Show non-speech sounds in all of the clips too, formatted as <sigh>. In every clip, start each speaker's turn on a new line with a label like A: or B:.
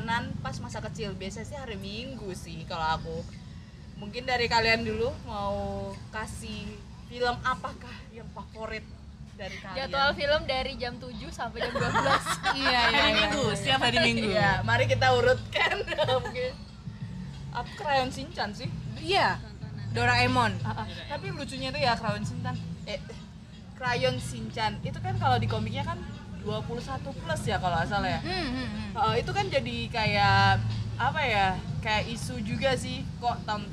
A: Nah, pas masa kecil biasanya sih hari minggu sih kalau aku mungkin dari kalian dulu mau kasih film apakah yang favorit dari kalian
B: Jadwal film dari jam 7 sampai jam 12.
C: iya iya
D: hari minggu setiap hari minggu
A: Iya, mari kita urutkan <laughs> mungkin aku krayon Shinchan sih
C: iya Doraemon
A: Ah, ah. tapi lucunya itu ya krayon Shinchan eh krayon Shinchan itu kan kalau di komiknya kan 21 plus ya kalau asal ya
C: <laughs> Hmm, hmm,
D: Mm-hmm.
C: hmm.
A: Eh, itu kan jadi kayak apa ya kayak isu juga sih kok tahun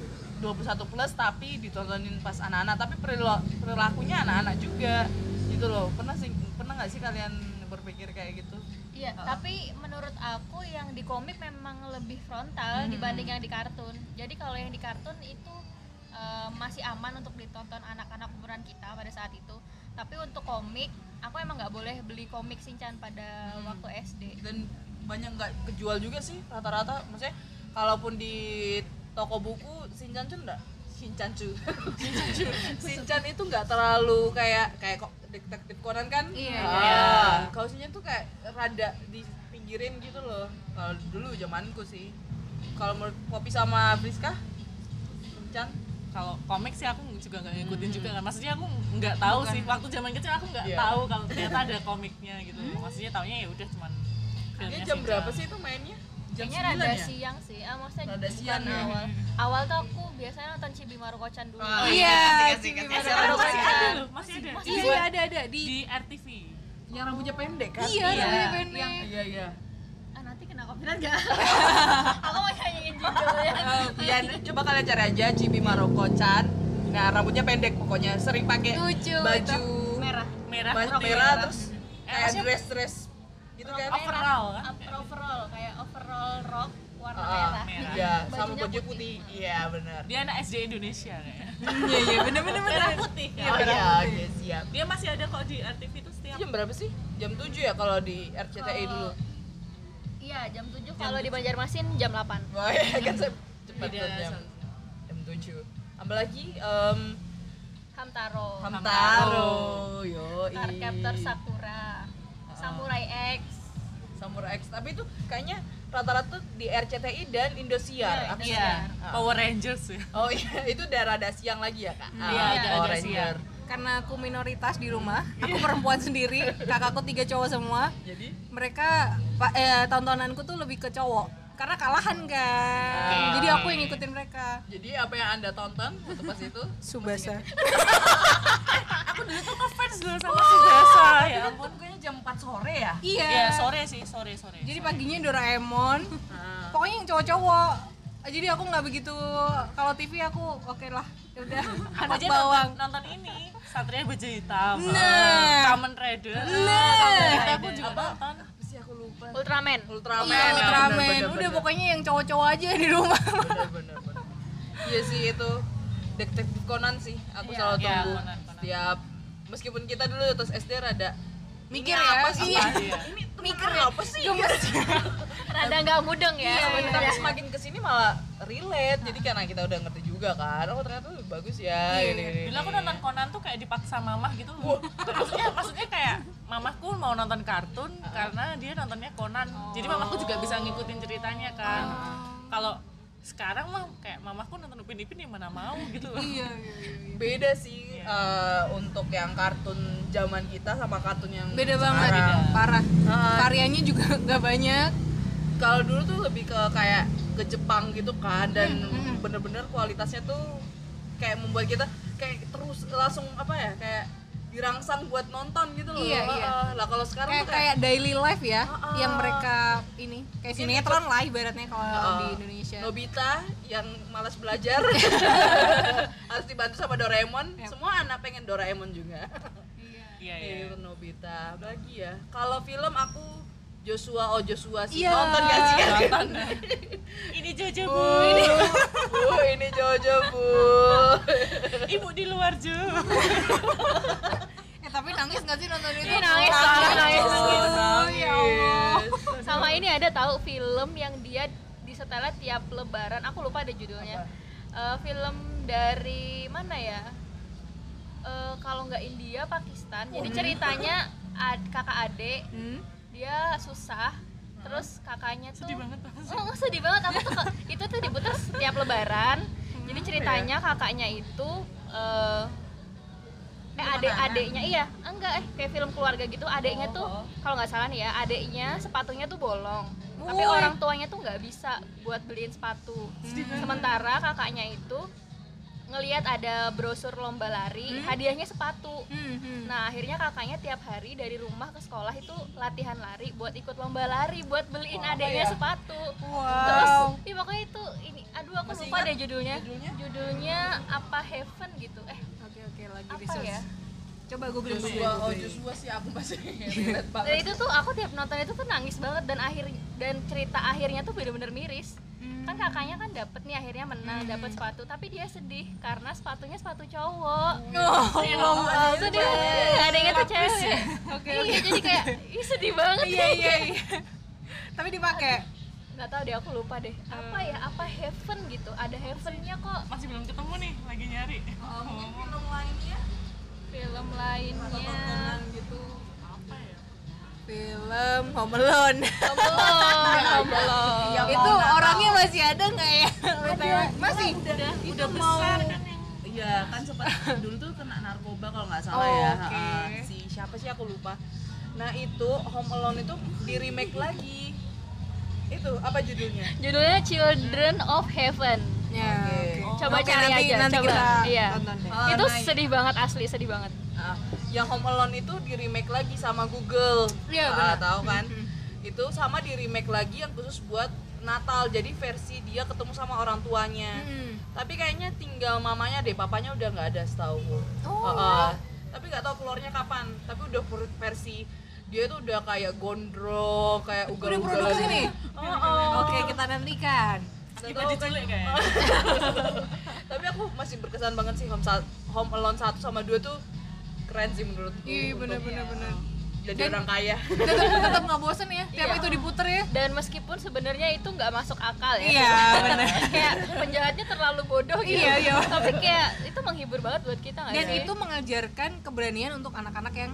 A: 21 plus tapi ditontonin pas anak-anak tapi perilo- perilakunya anak-anak juga gitu loh pernah sih pernah nggak sih kalian berpikir kayak gitu
B: Iya,
C: Oh.
B: tapi menurut aku yang di komik memang lebih
C: Hmm,
B: frontal dibanding yang di kartun. Jadi kalau yang di kartun itu eh, masih aman untuk ditonton anak-anak umuran kita pada saat itu. Tapi untuk komik, aku emang nggak boleh beli komik Shinchan pada waktu SD.
A: dan banyak nggak kejual juga sih rata-rata maksudnya kalaupun di toko buku Shinchan tuh enggak Shinchan cu Shinchan cu. Shinchan itu nggak terlalu kayak kayak kok detektif Conan kan
C: Iya,
A: Ah,
C: iya.
A: kalau Shinchan tuh kayak rada di pinggirin gitu loh kalau dulu zamanku sih kalau menurut Poppy sama Friska Shinchan
D: kalau komik sih aku juga nggak ngikutin juga kan maksudnya aku nggak tahu sih waktu zaman kecil aku nggak
A: Iya.
D: tahu kalau ternyata ada komiknya gitu maksudnya taunya ya udah cuman
E: Iya,
A: dia
D: filmnya
A: jam
D: sih,
A: berapa
D: Kak.
A: sih itu mainnya jam
B: Kayaknya
A: 9
B: rada
A: ya
B: siang sih. Ah, maksudnya
A: Rada
B: bukan
A: siang ya.
C: Hmm,
B: awal. Awal tuh aku biasanya nonton Chibimaru Kocan dulu.
D: Ah,
C: iya
E: kasih,
C: Cibi
E: kasih,
C: Mara
E: kasih.
D: Sekarang
C: Kocan.
D: masih ada loh masih ada
C: iya iya, ada ada di
D: di RTV
A: yang rambutnya pendek kan
C: iya namanya pendek
B: Yang-
A: iya iya
B: Ah, nanti kena copyright gak? <laughs> aku mau nyanyiin judulnya.
A: Eh, Bian, coba kalian cari aja Cibi Maroko-chan. Nah, rambutnya pendek pokoknya, sering pakai
C: lucu
A: baju
B: Merah.
D: merah
A: merah,
D: putih.
A: merah terus kayak
D: maksudnya-
A: dress dress gitu kan.
D: overall kan
B: Up- overall kayak overall rok warna
A: Ah,
B: merah.
D: merah.
A: Iya, sama
B: Bajunya Ah.
A: baju putih. Iya, benar.
D: dia anak SD Indonesia kayaknya
C: iya iya bener bener
D: merah putih ya.
A: Oh, iya, oke, siap.
D: dia masih ada kok di RTV itu setiap
A: Jam berapa sih? Jam 7 ya kalau di RCTI dulu.
B: Iya, jam 7 kalau di Banjarmasin jam 8.
A: Wah, iya kan saya cepat
D: Beda
A: tuh jam.
D: satu.
A: Jam 7. Apalagi em
B: Hamtaro.
A: Hamtaro, yo.
B: Cardcaptor
A: Ah.
B: Sakura. Samurai X.
A: Samurai X, tapi itu kayaknya rata-rata di RCTI dan Indosiar. Apa sih? Ah.
D: iya Power Rangers ya
A: Oh iya, <laughs> itu daerah ada siang lagi ya kak?
D: Iya,
A: Ah,
D: ada-
A: oh,
D: ada
A: Ranger.
D: siang.
C: karena aku minoritas di rumah aku perempuan sendiri kakakku tiga cowok semua
A: Jadi?
C: mereka pa- eh, tontonanku tuh lebih ke cowok karena kalahan kan
A: Oke.
C: jadi aku yang ngikutin mereka
A: Jadi apa yang anda tonton waktu pas itu?
C: Subasa <laughs>
D: fans dulu
C: Oh,
D: sama si Desa ya
A: Kan tuh kayaknya jam 4 sore ya?
C: iya
D: Iya, sore sih, sore sore.
C: jadi paginya Doraemon
A: Ah.
C: pokoknya yang cowok-cowok jadi aku nggak begitu kalau TV aku oke lah ya udah
D: Aku
C: anak
D: aja
C: bawang
D: nonton, nonton ini Satria Baja Hitam,
C: Nah.
D: Kamen Rider,
C: Nah.
D: Kamen Rider. aku juga nonton.
A: Apa sih aku lupa?
B: Ultraman.
A: Ultraman.
C: Iya,
A: ya,
C: Ultraman.
A: bener-bener,
C: udah
A: bener.
C: pokoknya yang cowok-cowok aja di rumah
A: Bener-bener. bener. Iya sih itu detektif Conan sih. Aku
D: Iya,
A: selalu
D: iya,
A: tunggu
D: Conan, Conan.
A: setiap meskipun kita dulu terus SD rada
C: mikir
A: ini
C: ya
A: apa sih?
C: iya
D: Iya.
A: Ini mikir apa sih?
C: gemes
B: Rada nggak mudeng
C: Iya,
B: ya.
A: Iya, Tapi
B: sebenarnya.
A: semakin kesini malah relate, jadi karena kita udah ngerti juga kan, oh ternyata bagus ya.
C: Iya.
A: ini, ini,
D: Dulu aku nonton Conan tuh kayak dipaksa mamah gitu loh. Maksudnya, maksudnya kayak mamahku mau nonton kartun karena dia nontonnya Conan. Jadi mamahku juga bisa ngikutin ceritanya kan. Kalau sekarang mah kayak mamahku nonton Upin Ipin ya mana mau gitu loh.
C: iya iya, iya.
A: beda sih eh, untuk yang kartun zaman kita sama kartun yang
C: beda banget
A: sekarang.
C: parah
A: Ah.
C: karyanya juga <laughs> nggak banyak
A: Kalau dulu tuh lebih ke kayak ke Jepang gitu kan dan
C: Hmm,
A: bener-bener kualitasnya tuh kayak membuat kita kayak terus langsung apa ya kayak dirangsang buat nonton gitu loh.
C: Iya, iya.
A: Eh, lah kalau sekarang
C: kayak
A: tuh kayak,
C: kayak daily life ya
A: Ah, ah.
C: yang mereka ini kayak sinetron lah ibaratnya kalau
A: Ah.
C: di Indonesia
A: Nobita yang malas belajar harus dibantu sama Doraemon.
C: Yap.
A: Semua anak pengen Doraemon juga.
D: Iya, iya.
A: Iya, Nobita. Bagi ya. Kalau film aku Joshua oh Joshua sih
C: Iya.
A: nonton gak sih?
D: Nonton. Ini Jojo Bu.
A: Oh. Bu, ini Jojo, Bu.
D: Ibu di luar Jo.
C: eh tapi nangis nggak sih nonton itu
B: Ih, Iya, nangis,
C: Nangis.
B: nangis, nangis.
C: Oh, ya Allah.
B: Sama ini ada tahu film yang dia disetelnya tiap lebaran. Aku lupa ada judulnya. Eh, film dari mana ya? Eh, kalau nggak India, Pakistan. Jadi ceritanya ad, kakak adik
C: Hmm?
B: dia susah terus kakaknya tuh
D: Sedih banget.
B: Oh, sedih banget aku tuh ke- itu tuh diputer setiap lebaran.
D: Hmm.
B: Jadi ceritanya kakaknya itu eh eh adik-adiknya iya, enggak eh kayak film keluarga gitu,
A: Oh,
B: adiknya tuh kalau nggak salah nih ya, adiknya sepatunya tuh bolong. Tapi
C: Woi.
B: orang tuanya tuh nggak bisa buat beliin sepatu.
A: Hmm.
B: Sementara kakaknya itu ngelihat ada brosur lomba lari,
A: Hmm.
B: hadiahnya sepatu. Nah akhirnya kakaknya tiap hari dari rumah ke sekolah itu latihan lari buat ikut lomba lari buat beliin
A: ya?
B: adanya sepatu. Terus iya pokoknya itu ini aduh aku
A: Masih
B: lupa
A: ingat
B: deh judulnya.
A: judulnya?
B: Judulnya apa Heaven gitu. Eh
C: Oke oke lagi
B: apa
C: research.
B: ya?
C: Coba googling
A: Joshua, oh Joshua sih aku masih relate
B: Dan
A: banget
B: itu tuh aku tiap nonton itu tuh nangis banget dan akhir dan cerita akhirnya tuh bener-bener miris. Kan kakaknya kan dapet nih akhirnya menang dapet sepatu tapi dia sedih karena sepatunya sepatu cowok. Iya.
C: Oh,
B: sedih Gak ada yang tuh cewek. Iya jadi kayak ih sedih banget.
C: Iya iya iya. Tapi dipakai.
B: nggak tahu deh aku lupa deh apa ya apa heaven gitu ada heavennya kok
D: Masih belum ketemu nih, lagi nyari.
A: film lainnya
B: film
A: atau
B: lainnya
A: tontonan gitu
D: Apa ya?
C: Film Home
B: <laughs>
C: Alone.
B: belum
A: Iya,
C: itu
A: mau Natal.
C: orangnya masih ada nggak ya? masih.
A: udah, udah besar kan yang Iya kan sempat dulu tuh kena narkoba kalau nggak salah
C: Oh,
A: ya
C: oke.
A: Ah, si siapa sih aku lupa nah itu Home Alone itu di remake lagi itu apa judulnya
B: judulnya Children of Heaven
C: Ya. oke.
B: coba
C: Oke,
B: cari
C: nanti,
B: aja
C: nanti
B: coba
C: kita
B: iya
C: tonton deh.
A: Ah,
B: itu
A: nah,
B: sedih banget asli sedih banget
A: ah, yang Home Alone itu di remake lagi sama Google
C: Iya,
A: Ah,
C: benar.
A: tahu kan itu sama di remake lagi yang khusus buat Natal jadi versi dia ketemu sama orang tuanya
C: Hmm.
A: tapi kayaknya tinggal mamanya deh papanya udah nggak ada setahu Ah,
C: Oh,
A: tapi nggak tahu keluarnya kapan tapi udah per- versi dia tuh udah kayak gondrong kayak ugal
C: Udah produksi nih. Oke, kita nantikan.
D: Kita diculik kayaknya.
A: kan. <laughs> tapi aku masih berkesan banget sih home, Sa- home alone 1 sama 2 tuh keren sih menurutku untuk
C: Iya, bener bener bener.
A: jadi orang kaya <laughs>
C: Tetap tetap nggak bosen ya. Tiap itu diputer ya.
B: dan meskipun sebenarnya itu nggak masuk akal ya
C: Iya, bener.
B: kayak penjahatnya terlalu bodoh gitu
C: Iya, iya.
B: tapi kayak itu menghibur banget buat kita nggak
C: <laughs> Dan
B: sih
C: itu mengajarkan keberanian untuk anak-anak yang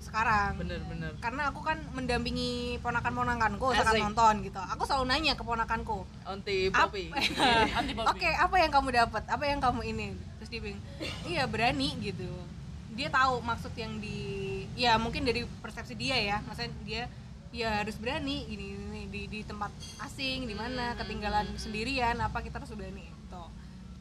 C: sekarang.
A: bener bener
C: Karena aku kan mendampingi ponakan-ponakanku saat
A: Asik.
C: nonton gitu. Aku selalu nanya ke ponakanku,
A: anti <laughs> popi
D: Anti Bobby.
C: Oke, apa yang kamu dapat? Apa yang kamu ini? Terus dia bilang, iya berani gitu. Dia tahu maksud yang di, ya mungkin dari persepsi dia ya. Maksudnya dia, ya harus berani gini, gini, gini. di di tempat asing, di
B: Hmm.
C: mana ketinggalan sendirian, apa kita harus berani. Gitu.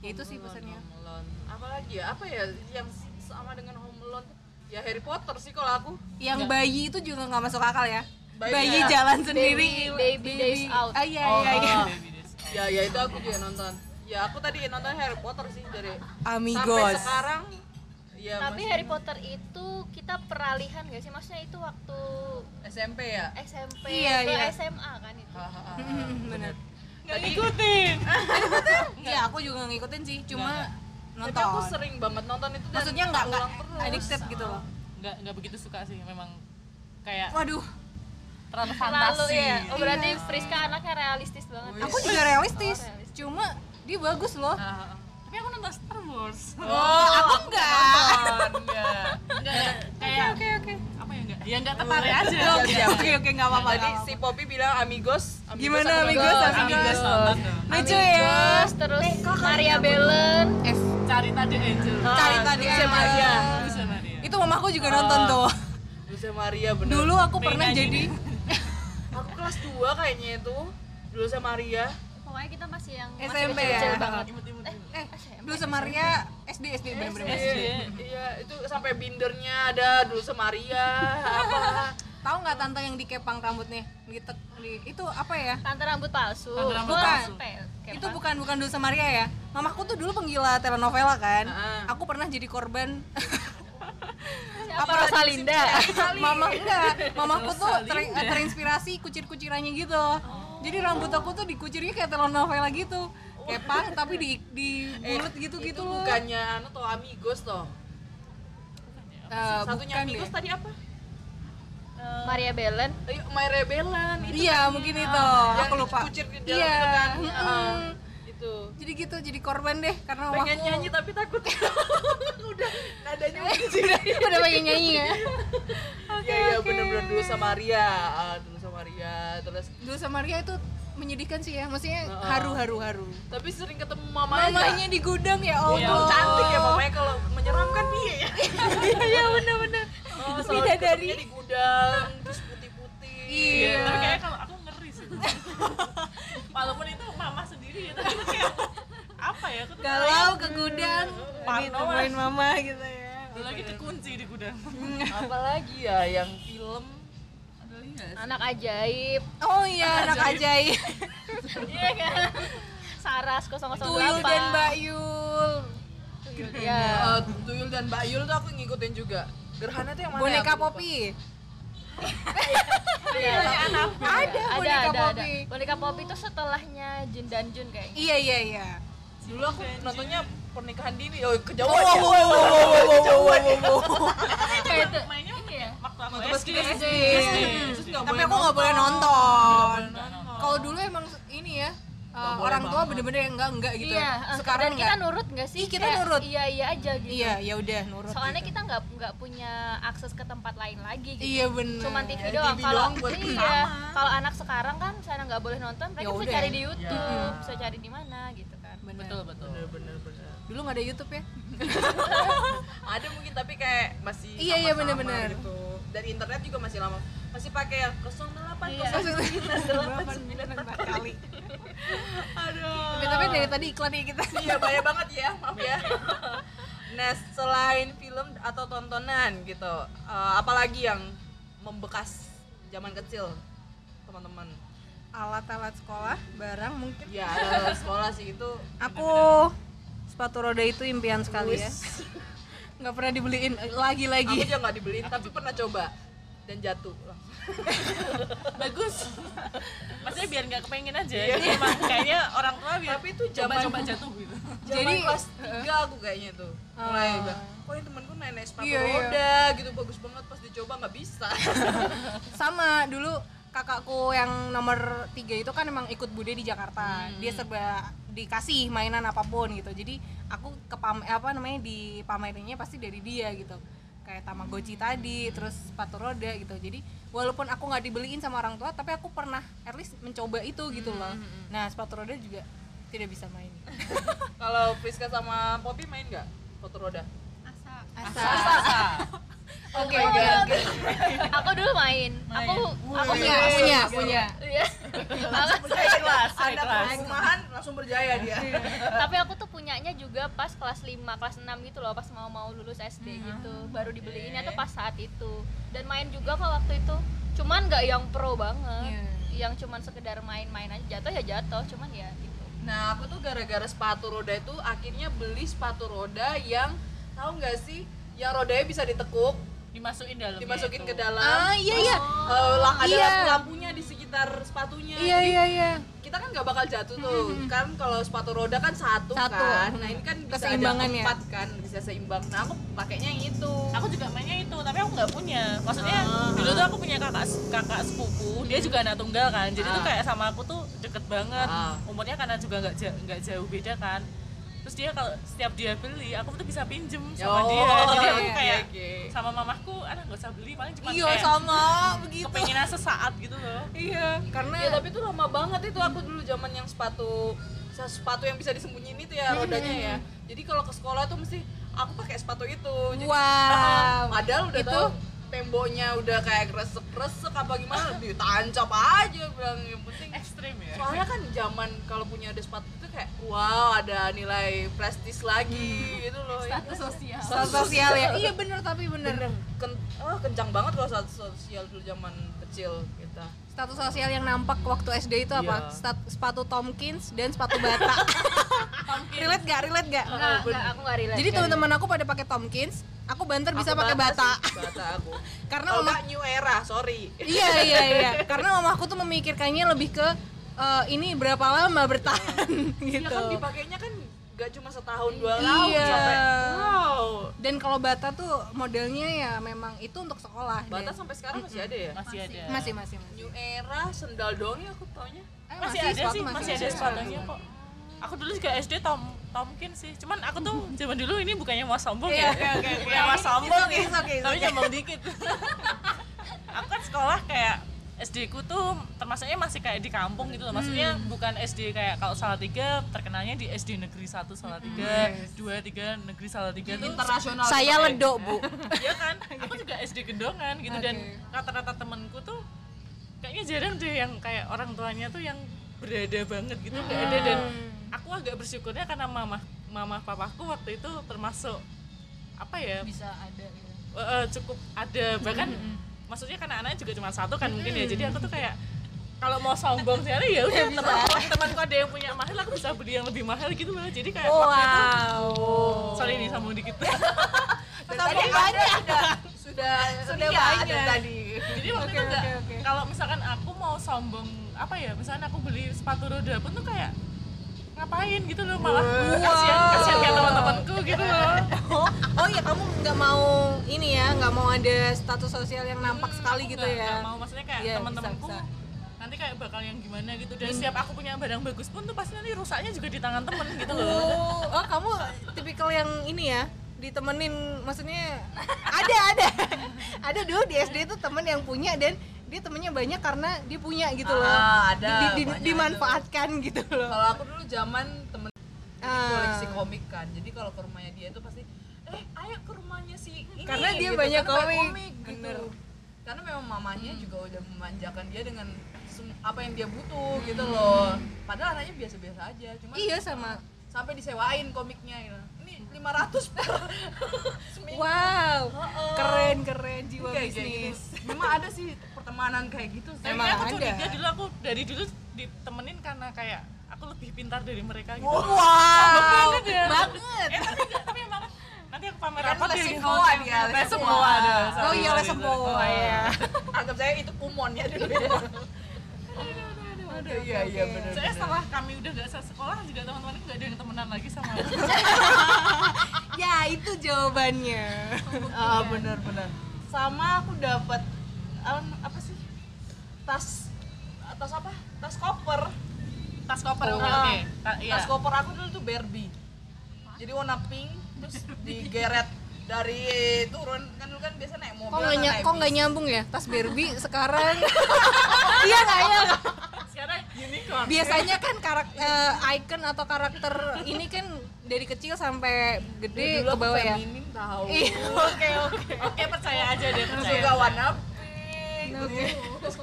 C: Ya <laughs> itu sih
B: Hmm,
C: pesannya.
A: Home Alone. apa lagi ya apa ya yang sama dengan home alone ya Harry Potter sih kalau aku
C: Yang bayi itu juga nggak masuk akal ya.
A: Bayi
C: Bayi,
A: ya.
C: jalan sendiri.
B: Baby Days Out. Oh,
C: Ah iya iya iya.
A: Ah. ya ya itu aku juga nonton ya aku tadi nonton Harry Potter sih dari sampai
C: Amigos.
A: sekarang ya
B: tapi
A: masih
B: Harry Potter itu kita peralihan gak sih maksudnya itu waktu
A: SMP ya
C: <laughs>
B: SMP
C: Iya,
B: ke
C: iya.
B: SMA kan itu
C: Hmm, Bener.
D: Nggak ngikutin.
C: <laughs> Iya, aku juga ngikutin sih, cuma nonton.
A: tapi aku sering banget nonton itu dan
C: Maksudnya nggak nggak
A: ulang terus.
C: addicted gitu loh.
D: Nggak nggak begitu suka sih, memang kayak
C: Waduh,
D: terlalu iya.
B: terlalu
D: fantasi.
B: ya
C: Iya.
B: oh, berarti Friska anaknya realistis banget
C: aku juga realistis. Cuma dia bagus loh.
A: Ah, ah.
D: Tapi aku nonton Star Wars.
C: Oh, aku enggak.
A: Nonton, nggak.
D: Enggak ya, <laughs> kayak
C: Oke, oke.
D: apa ya enggak? Ya enggak tertarik aja.
A: Siap, siap.
C: Oke, oke, enggak apa-apa.
A: tadi si Poppy bilang amigos, amigos
C: Gimana
A: aku
C: amigos,
A: nonton.
C: amigos?
D: nonton dong.
C: Lucu ya.
B: terus terus Maria Belen
C: Eh,
D: Cari tadi Angel.
A: Ah,
C: Cari tadi
A: Dulce
C: Angel.
A: Maria.
D: Bisa Maria.
C: itu mamaku juga nonton tuh.
A: Dulce Maria bener.
C: Dulu aku pernah
D: Pengen
C: jadi
A: aku kelas 2 kayaknya itu. Dulce Maria.
B: pokoknya kita masih yang
C: SMP
B: masih kecil
C: ya?
B: banget
D: Imut-imut.
C: eh dulu Maria SD SD bener-bener.
A: Iya, iya, itu sampai bindernya ada Dulce Maria apa.
C: Tahu nggak tante yang dikepang rambutnya? Gitu. di- Itu apa ya?
B: tante rambut palsu
D: Tante rambut
B: Gua
C: palsu.
B: pe- kayak
C: itu
B: apa?
C: bukan bukan dosa Maria ya mamahku tuh dulu penggila telenovela kan
A: Heeh.
C: aku pernah jadi korban
B: siapa Rosalinda
C: <laughs> mama enggak mamahku tuh ter- terinspirasi kucir-kucirannya gitu
A: Oh.
C: jadi rambut aku tuh dikucirnya kayak telenovela gitu kepang tapi di di bulut gitu gitu
A: Eh, itu
C: loh
A: bukannya anu toh amigos toh.
C: Eh,
A: Satunya
C: bukan
A: amigos
C: deh.
A: tadi apa?
B: Maria Belen
A: Ayo My Rebellion itu. kan
C: iya mungkin itu
A: Yang
C: aku lupa
A: dikucir di dalam
C: iya
A: itu kan.
C: mm-mm.
A: Ah, itu gitu
C: jadi gitu jadi korban deh karena
A: pengen
C: waktu
A: nyanyi tapi takut <laughs> udah nadanya mungkin
C: <laughs> udah pengen nyanyi ya
A: Iya iya bener-bener dulu sama Ria, ah, dulu sama Ria terus
C: dulu sama Ria itu menyedihkan sih ya maksudnya
A: Heeh.
C: haru haru haru
A: tapi sering ketemu mamanya.
C: mamanya di gudang ya Allah
A: Iya, cantik ya mamanya kalau menyeramkan piye ya.
C: <laughs> iya bener bener
A: Oh,
C: Bidadari.
A: di gudang terus putih-putih.
C: Iya.
A: Eh.
D: Tapi kayaknya kalau aku ngeri sih. Walaupun itu mama sendiri ya, tapi itu kayak apa ya? Aku tuh
C: galau ke gudang
D: Parno lah.
C: ditemuin mama gitu ya
D: Belum lagi dikunci di gudang.
A: Apalagi ya yang film ada lagi nggak sih?
B: anak ajaib
C: oh iya anak ajaib
B: iya kan saras 008
C: tuyul dan Mbak Yul
B: Tuyul, iya.
A: Eh, Tuyul dan Mbak Yul tuh aku ngikutin juga. Gerhana tuh yang mana? ya?
C: boneka
A: Aku lupa.
C: Poppy
B: Iya.
C: ada
B: ada
C: boneka
B: ada ada
C: Poppy
B: boneka popi itu setelahnya Jin dan Jun kayaknya
C: iya iya iya
A: Dulu aku nontonnya pernikahan dini. Oh, kejauhan.
C: Wow,
A: ya.
C: wow, wow, wow, wow, wow, wow, wow, wow.
B: kayak itu
D: Mainnya
B: iya
D: waktu aku
A: Waktu pas
D: SD.
A: kita SD. Terus nggak
C: tapi
A: boleh
C: aku nggak boleh nonton kalau dulu emang ini ya uh,
A: boleh
C: orang tua
A: banget.
C: bener-bener yang enggak enggak gitu
B: iya eh,
C: sekarang
B: dan kita
C: enggak
B: nurut nggak sih
C: Ih, kita nurut.
B: iya iya aja gitu
C: iya ya udah nurut
B: soalnya
C: gitu.
B: kita nggak nggak punya akses ke tempat lain lagi gitu
C: iya bener
B: cuman TV
A: Ya,
B: doang
A: TV
B: kalau
A: doang buat
B: iya
A: bersama.
B: kalau anak sekarang kan misalnya nggak boleh nonton mereka
C: Ya
B: bisa
C: udah. Iya.
B: cari di YouTube bisa cari di mana gitu kan
C: Bener.
D: Betul, betul.
A: Bener-bener.
C: dulu nggak ada YouTube
B: Iya.
C: ya
A: ada mungkin tapi kayak masih
C: Iya, iya,
A: sama-sama
C: bener-bener.
A: gitu dari internet juga masih lama masih pakai yang 08
B: Iya. <laughs>
A: 09 08 kali aduh
C: tapi tapi dari tadi iklan ya kita
A: iya banyak banget ya maaf ya nah selain film atau tontonan gitu eh, apalagi yang membekas zaman kecil teman-teman
C: alat-alat sekolah barang mungkin
A: ya ada sekolah sih itu
C: aku sepatu roda itu impian sekali ya nggak pernah dibeliin eh,
A: aku
C: lagi-lagi
A: juga nggak dibeliin tapi pernah coba dan jatuh langsung
D: Bagus. Maksudnya biar nggak kepengen aja. Jadi emang kayaknya orang tua biar
A: tapi itu zaman
D: coba-coba jatuh gitu.
A: jadi
C: Jadi-
A: kelas tiga aku kayaknya tuh mulai
C: Ah.
A: bilang, kok ini temanku naik naik sepatu
C: Iya, iya.
A: roda gitu bagus banget pas dicoba nggak
C: <laughs>
A: bisa
C: sama dulu kakakku yang nomor tiga itu kan emang ikut bude di Jakarta dia serba dikasih mainan apapun gitu jadi aku ke pam- eh, apa namanya di pamerinnya pasti dari dia gitu kayak tamagotchi tadi terus sepatu roda gitu jadi walaupun aku nggak dibeliin sama orang tua tapi aku pernah at least mencoba itu gitu loh nah sepatu roda juga tidak bisa main
A: kalau Priska sama Poppy main nggak sepatu roda
B: Asal.
C: Asa. oke oke oke
B: aku dulu main, aku aku
C: punya punya punya
B: Iya. Aku-
A: kelas
D: naik kelas.
A: perumahan langsung berjaya dia
C: Iya.
B: tapi aku tuh punyanya juga pas kelas 5, kelas 6 gitu loh pas mau mau lulus SD gitu baru dibeliinnya tuh pas saat itu dan main juga kok waktu itu cuman nggak yang pro banget yang cuman sekedar main-main aja jatuh ya jatuh cuman ya gitu
A: nah aku tuh gara-gara sepatu roda itu akhirnya beli sepatu roda yang tahu nggak sih yang rodanya bisa ditekuk
D: Dimasukin dalam.
A: dimasukin
D: gitu.
A: ke dalam
C: Iya, ah iya iya
A: eh, lang- ada
C: Iya.
A: lampu-lampunya di sekitar sepatunya
C: iya
A: Jadi
C: iya iya
A: kita kan nggak bakal jatuh tuh kan kalau sepatu roda kan satu,
C: Satu.
A: kan nah ini kan bisa ada
C: Keseimbangan ya.
A: empat kan bisa seimbang nah aku pakainya yang itu
D: aku juga mainnya itu tapi aku nggak punya maksudnya
A: Ah.
D: dulu tuh aku punya kakak kakak sepupu dia juga anak tunggal kan jadi tuh
A: Ah.
D: kayak sama aku tuh deket banget
A: Ah.
D: umurnya karena juga nggak ja- nggak jauh beda kan terus dia kalau setiap dia beli aku tuh bisa pinjem sama
A: Oh,
C: iya,
D: dia jadi aku
A: oke,
D: kayak
A: oke.
D: sama mamahku anak nggak usah beli paling cuma
C: iya
D: kayak
C: sama begitu
D: kepengenan sesaat gitu loh
C: iya karena
A: ya tapi itu lama banget itu aku dulu zaman yang sepatu sepatu yang bisa disembunyiin itu ya rodanya ya jadi kalau ke sekolah tuh mesti aku pakai sepatu itu jadi Ah,
C: Wow.
A: padahal udah
C: Itu-
A: tahu temboknya udah kayak resep-resep apa
C: <laughs>
A: gimana ditancap aja bilang yang penting
C: Eh,
D: ekstrim ya
A: soalnya kan zaman kalau punya ada sepatu itu kayak wow ada nilai prestis lagi gitu loh status sosial
C: Status sosial ya. Iya bener tapi bener.
A: Ken- oh, kencang banget kalau status sosial dulu zaman kecil kita
C: Status sosial yang nampak waktu SD itu apa?
A: Iya.
C: Stat- sepatu Tomkins dan sepatu bata.
A: <laughs>
C: relate gak? Relate gak?
B: nggak nggak aku nggak relate gitu.
C: Jadi teman-teman aku pada pakai Tomkins, aku banter bisa
A: Aku
C: pakai bata.
A: sih, bata aku
C: <laughs> Karena
A: kalau
C: mama
A: nggak new era <laughs> sorry
C: Iya iya iya. Karena mamaku tuh memikirkannya lebih ke eh, ini berapa lama bertahan
A: ya
C: <laughs> gitu.
A: kan dipakainya kan gak cuma setahun dua
C: Iya.
A: tahun sampai wow
C: Dan kalau bata tuh modelnya ya memang itu untuk sekolah.
A: bata
C: dan-
A: sampai sekarang masih ada ya
D: masih ada
C: masih masih masih.
A: new era sendal dong ya aku taunya
C: Eh,
D: Masih ada
C: sepatu
D: sih masih ada
C: sepatu.
D: sepatunya kok aku dulu juga SD Tom Tomkin sih cuman aku
C: <laughs>
D: tuh zaman dulu ini bukannya mau sombong ya
C: Iya, oke, oke.
D: bukan mau sombong ya.
C: It's okay, it's okay, it's
D: tapi
C: okay.
D: nyombong
C: <laughs>
D: dikit aku kan sekolah kayak SD ku tuh termasuknya masih kayak di kampung gitu loh maksudnya
C: Hmm.
D: bukan SD kayak kalau Salatiga terkenalnya di SD negeri 1
C: Hmm,
D: Salatiga 2 3 negeri Salatiga tuh
A: internasional
E: Saya
A: gitu ya.
E: ledok, Bu.
D: Iya kan? Aku juga SD Gedongan gitu dan rata-rata temenku tuh kayaknya jarang deh yang kayak orang tuanya tuh yang berada banget gitu nggak ada dan
A: Hmm.
D: aku agak bersyukurnya karena mama mama papaku waktu itu termasuk apa ya
A: bisa ada gitu. Hmm,
D: eh, eh, cukup ada bahkan maksudnya karena anaknya juga cuma satu kan mungkin ya jadi aku tuh kayak kalau mau sombong sehari ya udah temanku temanku ada yang punya mahal aku bisa beli yang lebih mahal gitu loh jadi kayak waktu itu
E: Wow.
D: sorry nih sambung dikit
A: <laughs>
C: Tadi banyak. Sudah sudah banyak.
D: jadi waktu itu enggak kalau misalkan aku mau sombong apa ya misalkan aku beli sepatu roda pun tuh kayak ngapain gitu loh malah kasihan kasihan kayak teman-temanku gitu loh
C: Oh, oh ya kamu nggak mau ini ya, nggak mau ada status sosial yang nampak
A: Hmm,
C: sekali gitu
D: Nggak- nggak
C: ya.
D: Hmm, mau maksudnya kayak
C: Iya,
D: teman-temanku
C: bisa,
D: nanti kayak bakal yang gimana gitu dan setiap aku punya barang bagus pun tuh pasti nanti rusaknya juga di tangan temen gitu loh
C: Oh, oh, kamu tipikal yang ini ya ditemenin maksudnya ada ada ada dulu di SD itu temen yang punya dan dia temennya banyak karena dia punya gitu loh
A: Ah, ada,
C: Di- di-
A: banyak
C: dimanfaatkan gitu loh
A: kalau aku dulu zaman temen
C: Ah.
A: koleksi komik kan jadi kalau ke rumahnya dia itu pasti eh ayo ke rumahnya si ini
C: Karena dia
A: gitu,
C: banyak
A: karena
C: komik.
A: gitu.
C: Bener. Hmm.
A: karena memang mamanya juga udah memanjakan dia dengan sem- apa yang dia butuh gitu loh padahal anaknya biasa-biasa aja cuma
C: Hmm. iya sama
A: sampai disewain komiknya gitu. ini 500
C: <laughs>
A: per seminggu
C: wow
A: Oh,
C: keren keren jiwa
A: kayak gitu
C: bisnis
A: memang ada sih pertemanan kayak gitu sih.
C: Emang
D: Tapi aku
C: ada.
D: curiga dulu aku dari dulu ditemenin karena kayak aku lebih pintar dari mereka gitu
C: wow
D: Banget ya.
C: banget
D: eh tapi enggak, tapi emang nanti aku pamer
A: Kan
D: apa deh
A: lesing
D: gitu.
A: boa dia, lesing
D: Lesing
A: boa.
D: boa, aduh,
C: oh
D: sorry,
C: iya
D: sorry,
C: les
D: sorry.
C: sempoa
A: iya. <laughs>
C: ya
A: anggap saya itu kumon ya dulu ya Aduh, iya iya benar
D: Soalnya setelah kami udah gak sekolah juga teman-teman nggak ada yang temenan lagi sama aku.
C: ya itu jawabannya
A: ah benar benar sama aku dapat em, apa sih tas tas apa tas koper
D: Tas koper
A: Oh.
D: oke oke. Ta- iya.
A: tas koper aku dulu tuh Barbie jadi warna pink terus digeret dari turun kan dulu kan biasa naik mobil
C: kok nggak
A: atau
C: ny-
A: naik
C: kok nggak nyambung ya tas <laughs> Barbie sekarang iya nggak ya
D: Sekarang unicorn.
C: biasanya kan karakter icon atau karakter ini kan dari kecil sampai gede
A: dulu
C: ke
A: aku
C: bawah ya
A: feminin tahu
C: Iya,
A: oke oke
D: Oke percaya aja deh percaya.
A: suka warna pink Terus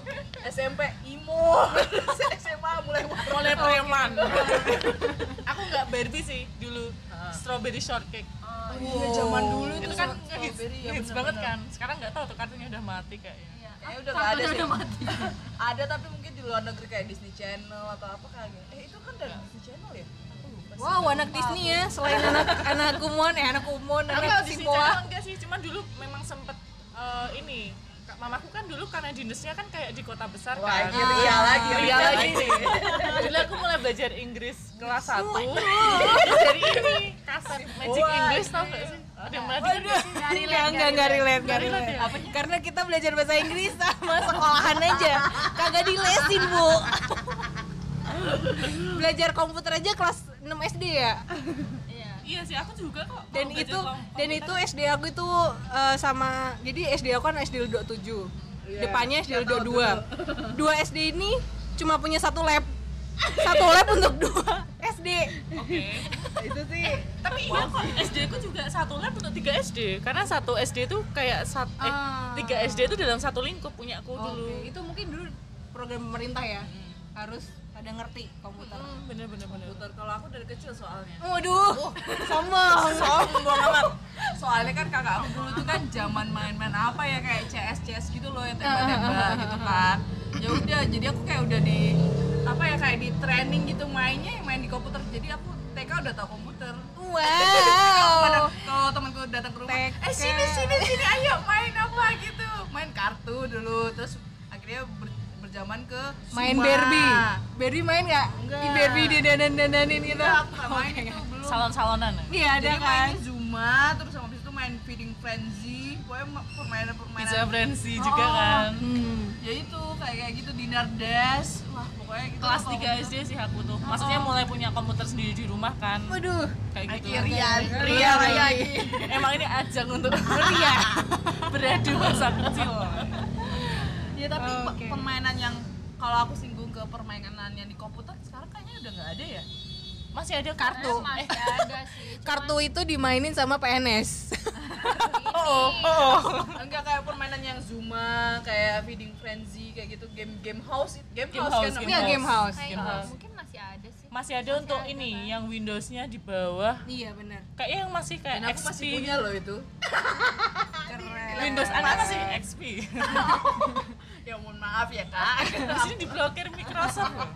A: SMP <laughs> imo Terus SMA mulai warna
D: Mulai preman. <laughs> aku nggak Barbie sih dulu. Strawberry shortcake.
A: iya zaman dulu
D: itu kan ngehits
A: iya, ya,
D: hits banget kan. Sekarang nggak tahu tuh kartunya udah mati kayaknya.
A: Kayaknya Ya udah nggak ada sih. <laughs> ada tapi mungkin di luar negeri kayak Disney Channel atau apa kagak. Eh itu kan dari Disney Channel ya? Aku lupa. sih.
C: wow anak Disney ya selain anak anak kumon eh anak kumon
D: Enggak
C: anak
D: sih,
C: simpoa
D: enggak sih. Cuman dulu memang sempet eh, ini Kak- mamaku kan dulu karena dinasnya kan kayak di kota besar
A: Wah, iya,
D: kan.
A: ini ria lagi, ria lagi.
D: Dulu aku mulai belajar Inggris kelas 1
C: Oh, iya.
D: Terus dari ini kaset Magic
A: Wah,
D: Inggris
C: iya.
D: tau gak sih? Ada mulai dengar nggak sih?
C: Enggak, enggak, enggak relate, enggak relate. ya? Karena kita belajar bahasa Inggris sama sekolahan aja Kagak dilesin, <laughs> Bu Belajar komputer aja kelas 6 SD ya?
D: Iya sih aku juga kok mau
C: dan
D: belajar
C: itu
D: kom-
C: dan itu SD aku itu eh, sama jadi SD aku kan SD Ludo 7 depannya SD Ludo 2 dua SD ini cuma punya satu lab satu lab untuk dua SD
D: Oke.
A: itu sih
D: Tapi iya kok SD ku juga satu lab untuk 3 SD Karena satu SD itu kayak sat, eh,
C: Ah.
D: 3 SD itu dalam satu lingkup punya aku dulu
C: itu mungkin dulu program pemerintah ya harus ada ngerti komputer
D: Bener-bener bener.
A: Putar kalau aku dari kecil soalnya.
C: Mm. waduh Oh. sombong
A: Sombong amat. Soalnya kan kakak aku dulu tuh kan zaman main-main apa ya kayak CS CS gitu loh yang tembak-tembak <laughs> gitu kan. Ya udah, jadi aku kayak udah di apa ya kayak di training gitu mainnya yang main di komputer. Jadi aku TK udah tahu komputer. Pada
C: wow
A: kalau temanku datang ke rumah, eh sini sini sini ayo main apa gitu, main kartu dulu, terus akhirnya ber- berjaman ke
C: main
A: Suma.
C: Barbie Barbie main nggak di
A: Enggak.
C: Barbie dia dandan dandanin gitu
A: Enggak, aku nggak main itu belum.
D: Salon-salonan ya?
C: iya ada
A: Jadi
C: kan
A: mainnya Zuma, terus habis itu main Feeding Frenzy, pokoknya ma- permainan-permainan
D: Pizza Frenzy juga
A: Oh.
D: kan
C: Hmm.
A: ya itu kayak kayak gitu dinner dash wah pokoknya pokoknya gitu
D: kelas
A: loh,
D: 3 SD sih aku tuh
C: Oh.
D: maksudnya mulai punya komputer sendiri di rumah kan
C: waduh
D: kayak gitu
A: Rian
D: Ria lagi emang ini ajang untuk Ria beradu masa kecil
A: ya tapi
C: Oh,
A: pe-
C: oke.
A: permainan yang kalau aku singgung ke permainan yang di komputer sekarang kayaknya udah nggak ada ya
D: masih ada
B: Karena
D: kartu eh
B: masih ada sih cuman
C: kartu itu dimainin sama PNS
D: oh oh
A: enggak kayak permainan yang Zuma kayak feeding frenzy kayak gitu game game house game,
D: Game
A: house,
D: house,
A: kan
D: game
C: iya
A: namanya.
C: game house
B: kayak ya,
D: Game house.
B: mungkin masih ada kan? sih
D: masih ada untuk ini ya. yang Windowsnya di bawah
C: iya benar
D: kayaknya yang masih kayak
A: dan aku
D: XP
A: masih punya loh itu <laughs>
C: keren
D: Windows anak masih XP
A: ya mohon maaf ya kak <laughs>
D: di sini diblokir Microsoft loh.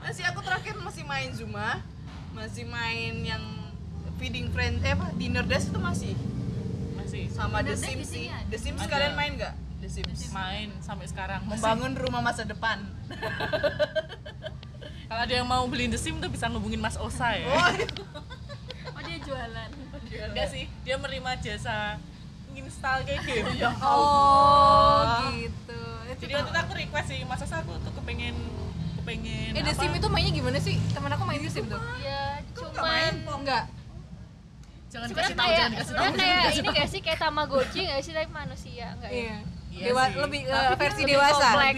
A: masih aku terakhir masih main Zuma masih main yang feeding friend eh apa dinner dash itu masih
D: masih
A: sama The
B: Dinner Dash
A: Sims
B: di sini
A: sih
B: ada.
A: The Sims
D: Ada.
A: kalian main nggak The Sims
D: main sampai sekarang Masih-
A: membangun rumah masa
C: <laughs>
A: depan
D: kalau ada yang mau beliin The Sim tuh bisa ngubungin Mas Osa ya
A: oh iya.
B: oh dia jualan
D: enggak sih dia menerima jasa nginstal kayak game
A: Iya.
C: oh gitu
D: jadi waktu itu aku request sih masa aku tuh kepengen kepengen
C: eh The
D: apa,
C: Sim itu mainnya gimana sih temen aku main The Sim tuh
B: ya cuman
C: main enggak
D: jangan
B: sebenarnya
D: kasih tahu
B: kayak
D: jangan kasih tahu
B: sebenarnya kayak ini gak sih kayak tamagotchi gak sih tapi manusia enggak ya
C: iya
D: Iya
C: Dewa,
D: sih.
C: lebih
B: Tapi
C: eh,
B: dia
C: versi
B: lebih
C: dewasa
B: kompleks.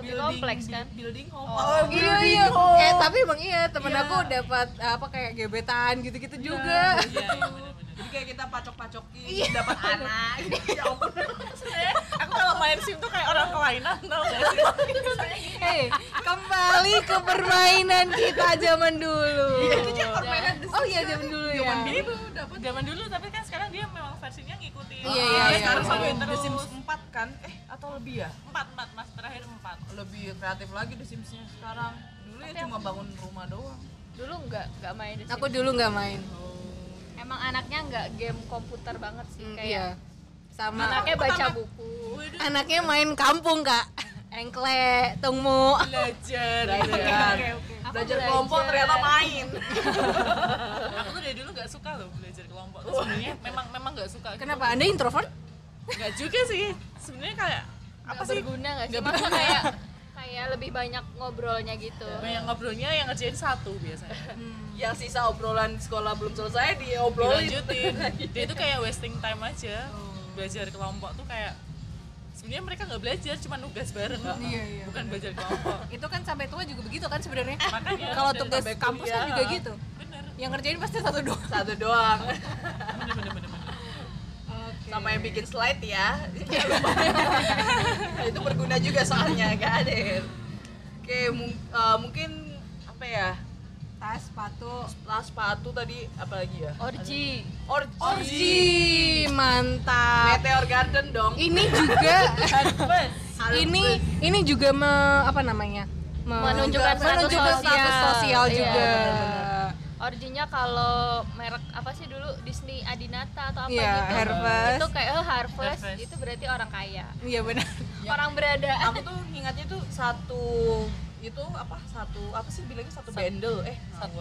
B: Lebih kompleks, kan?
A: building home
C: Oh, iya iya. Eh tapi emang iya temen
A: Iya.
C: aku dapat apa kayak gebetan gitu-gitu juga.
D: iya iya benar-benar
A: <laughs> jadi kayak kita
C: Iya.
A: pacok-pacokin dapat anak ya ampun
D: Sebenarnya aku kalau main sim tuh kayak orang kelainan tau gak sih
C: Hei, Eh, kembali ke permainan kita zaman dulu.
A: itu juga permainan
C: Oh iya zaman dulu ya.
D: jadi dapat zaman dulu tapi kan sekarang dia memang versinya ngikutin
C: Iya, iya,
D: Dia
C: iya,
D: sekarang
C: iya.
D: sampai
A: Nah, The
D: terus
A: Sims 4 kan eh atau lebih ya
D: empat empat mas terakhir empat
A: lebih kreatif lagi The Simsnya sekarang dulu ya cuma bangun rumah doang
B: dulu enggak enggak main The Sims.
C: Aku dulu nggak main.
B: emang anaknya enggak game komputer banget sih
C: Mm,
B: kayak
C: Iya. Sama
B: anaknya baca buku
C: anaknya main kampung, Kak. Engkle, tungmu.
D: belajar
A: belajar
B: Aku
A: Iya. belajar kelompok ternyata main
D: aku tuh dari dulu nggak suka loh belajar kelompok tuh sebenarnya memang memang nggak suka gitu.
C: Kenapa Anda introvert?
D: nggak juga sih sebenarnya kayak apa
B: Nggak
D: sih
B: berguna nggak sih maksudnya kayak kayak lebih banyak ngobrolnya gitu
D: banyak ngobrolnya yang ngerjain satu biasanya
A: yang sisa obrolan sekolah belum selesai diobrolin
D: dilanjutin
C: <laughs> Iya.
D: dia itu kayak wasting time aja
C: Oh.
D: belajar kelompok tuh kayak sebenarnya mereka nggak belajar cuma nugas bareng
C: Iya, iya.
D: bukan belajar kelompok
C: Itu kan sampai tua juga begitu kan sebenarnya.
D: makanya
C: Kalau
D: dari
C: tugas
D: sampai
C: kampus kan
D: kuliah,
C: juga gitu.
D: bener
C: Yang ngerjain pasti satu dua.
A: satu doang
D: bener bener bener, bener.
A: sama yang bikin slide ya itu berguna juga soalnya gak ada ya. oke mung- eh, mungkin apa ya
C: Tas, sepatu,
A: tas sepatu tadi apa lagi ya
B: orji
A: orji,
C: Orji, mantap.
A: meteor garden dong
C: Ini juga
D: Harvest.
A: Harus
C: ini ini juga me- apa namanya? Me-
B: Menunjukkan status
C: menunjukkan status
B: sosial.
C: sosial
B: Iya,
C: juga.
B: orjinya kalau merek apa sih dulu Disney Adinata atau apa
C: Iya,
B: gitu
C: Harvest.
B: itu kayak oh, harvest,
D: Harvest.
B: itu berarti orang kaya
C: Iya benar.
B: orang berada
A: aku tuh ingatnya tuh satu itu apa satu apa sih bilangnya satu bundle eh satu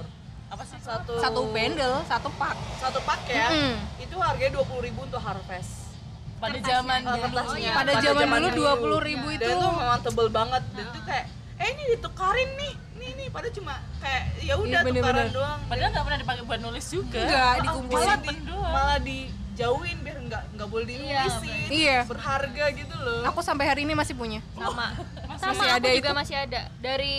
D: apa sih
A: satu
C: Satu bundle, satu pak.
A: satu pak ya
C: Mm.
A: itu harganya dua puluh ribu untuk harvest
D: pada zaman
A: Eh, kertasnya.
B: iya.
C: Pada zaman dulu 20.000
A: dan
C: itu.
A: itu memang tebel banget dan itu kayak eh ini ditukarin nih nih nih pada cuma kayak ya udah
C: Iya, bener-bener.
A: tukaran doang
D: padahal nggak pernah dipakai buat nulis juga
C: Enggak
A: malah
C: dikumpulin.
A: di
D: doang.
A: malah dijauhin biar nggak nggak boleh dinulisin
C: Iya.
A: berharga gitu loh
C: Aku sampai hari ini masih punya.
B: sama sama aku
C: Masih ada
B: juga
C: itu?
B: masih ada dari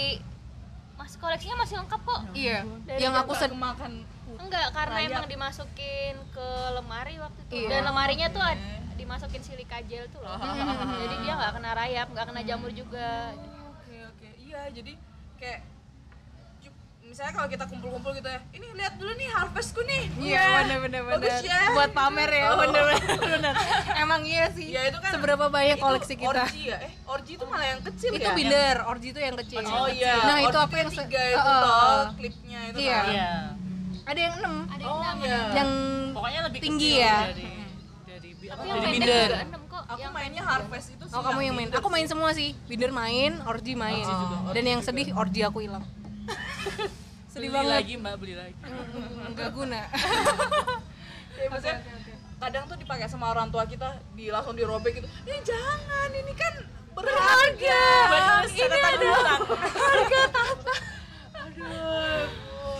B: mas koleksinya masih lengkap kok
C: Iya.
B: Dari
C: yang aku
A: Nggak
C: sed-
A: kemakan
B: enggak karena
A: Rayap.
B: emang dimasukin ke lemari waktu itu
C: Iya.
B: dan lemarinya tuh ad- dimasukin silika gel tuh loh
A: Oh.
B: jadi dia nggak kena rayap nggak kena jamur juga
A: oke oke iya jadi kayak ju- misalnya kalau kita kumpul-kumpul gitu ya ini lihat dulu nih harvestku nih
C: Iya,
A: Wah,
C: benar benar
A: bagus ya
C: Buat pamer ya,
A: Oh.
C: bener bener bener. Emang iya sih.
A: ya itu kan
C: Seberapa banyak
A: itu
C: koleksi kita.
A: orgi ya eh orgi itu malah yang kecil
C: Itu
A: ya
C: binder, orji itu yang kecil.
A: oh iya
C: Nah, itu
A: orgi
C: aku yang se-
A: tiga itu
C: Oh, oh,
A: toh,
C: oh.
A: klipnya itu
C: Iya.
A: kan.
D: Iya.
C: Ada yang 6.
B: ada yang
A: oh
B: enam
A: iya
C: Yang
D: pokoknya lebih
C: Tinggi
D: kecil
C: ya.
D: dari dari bi- apa
A: Oh,
B: tapi yang
D: dari
B: pendek
D: binder
B: juga enam kok
A: aku
B: yang
A: mainnya harvest itu sih
C: Oh kamu yang main, aku main semua sih. Binder main, orji main.
A: Orgy juga,
C: Dan
A: orgy
C: yang
A: juga.
C: sedih orji aku hilang.
D: beli
C: Sedih banget.
D: lagi mbak beli lagi
C: Enggak
A: <laughs>
C: guna.
A: Ya, maksudnya
C: "Eh,
A: kadang tuh dipakai sama orang tua kita di langsung dirobek gitu ya jangan ini kan
C: berharga
D: Banyak
C: ini
D: catatan
C: ada
D: ulang.
C: harga tahta
A: aduh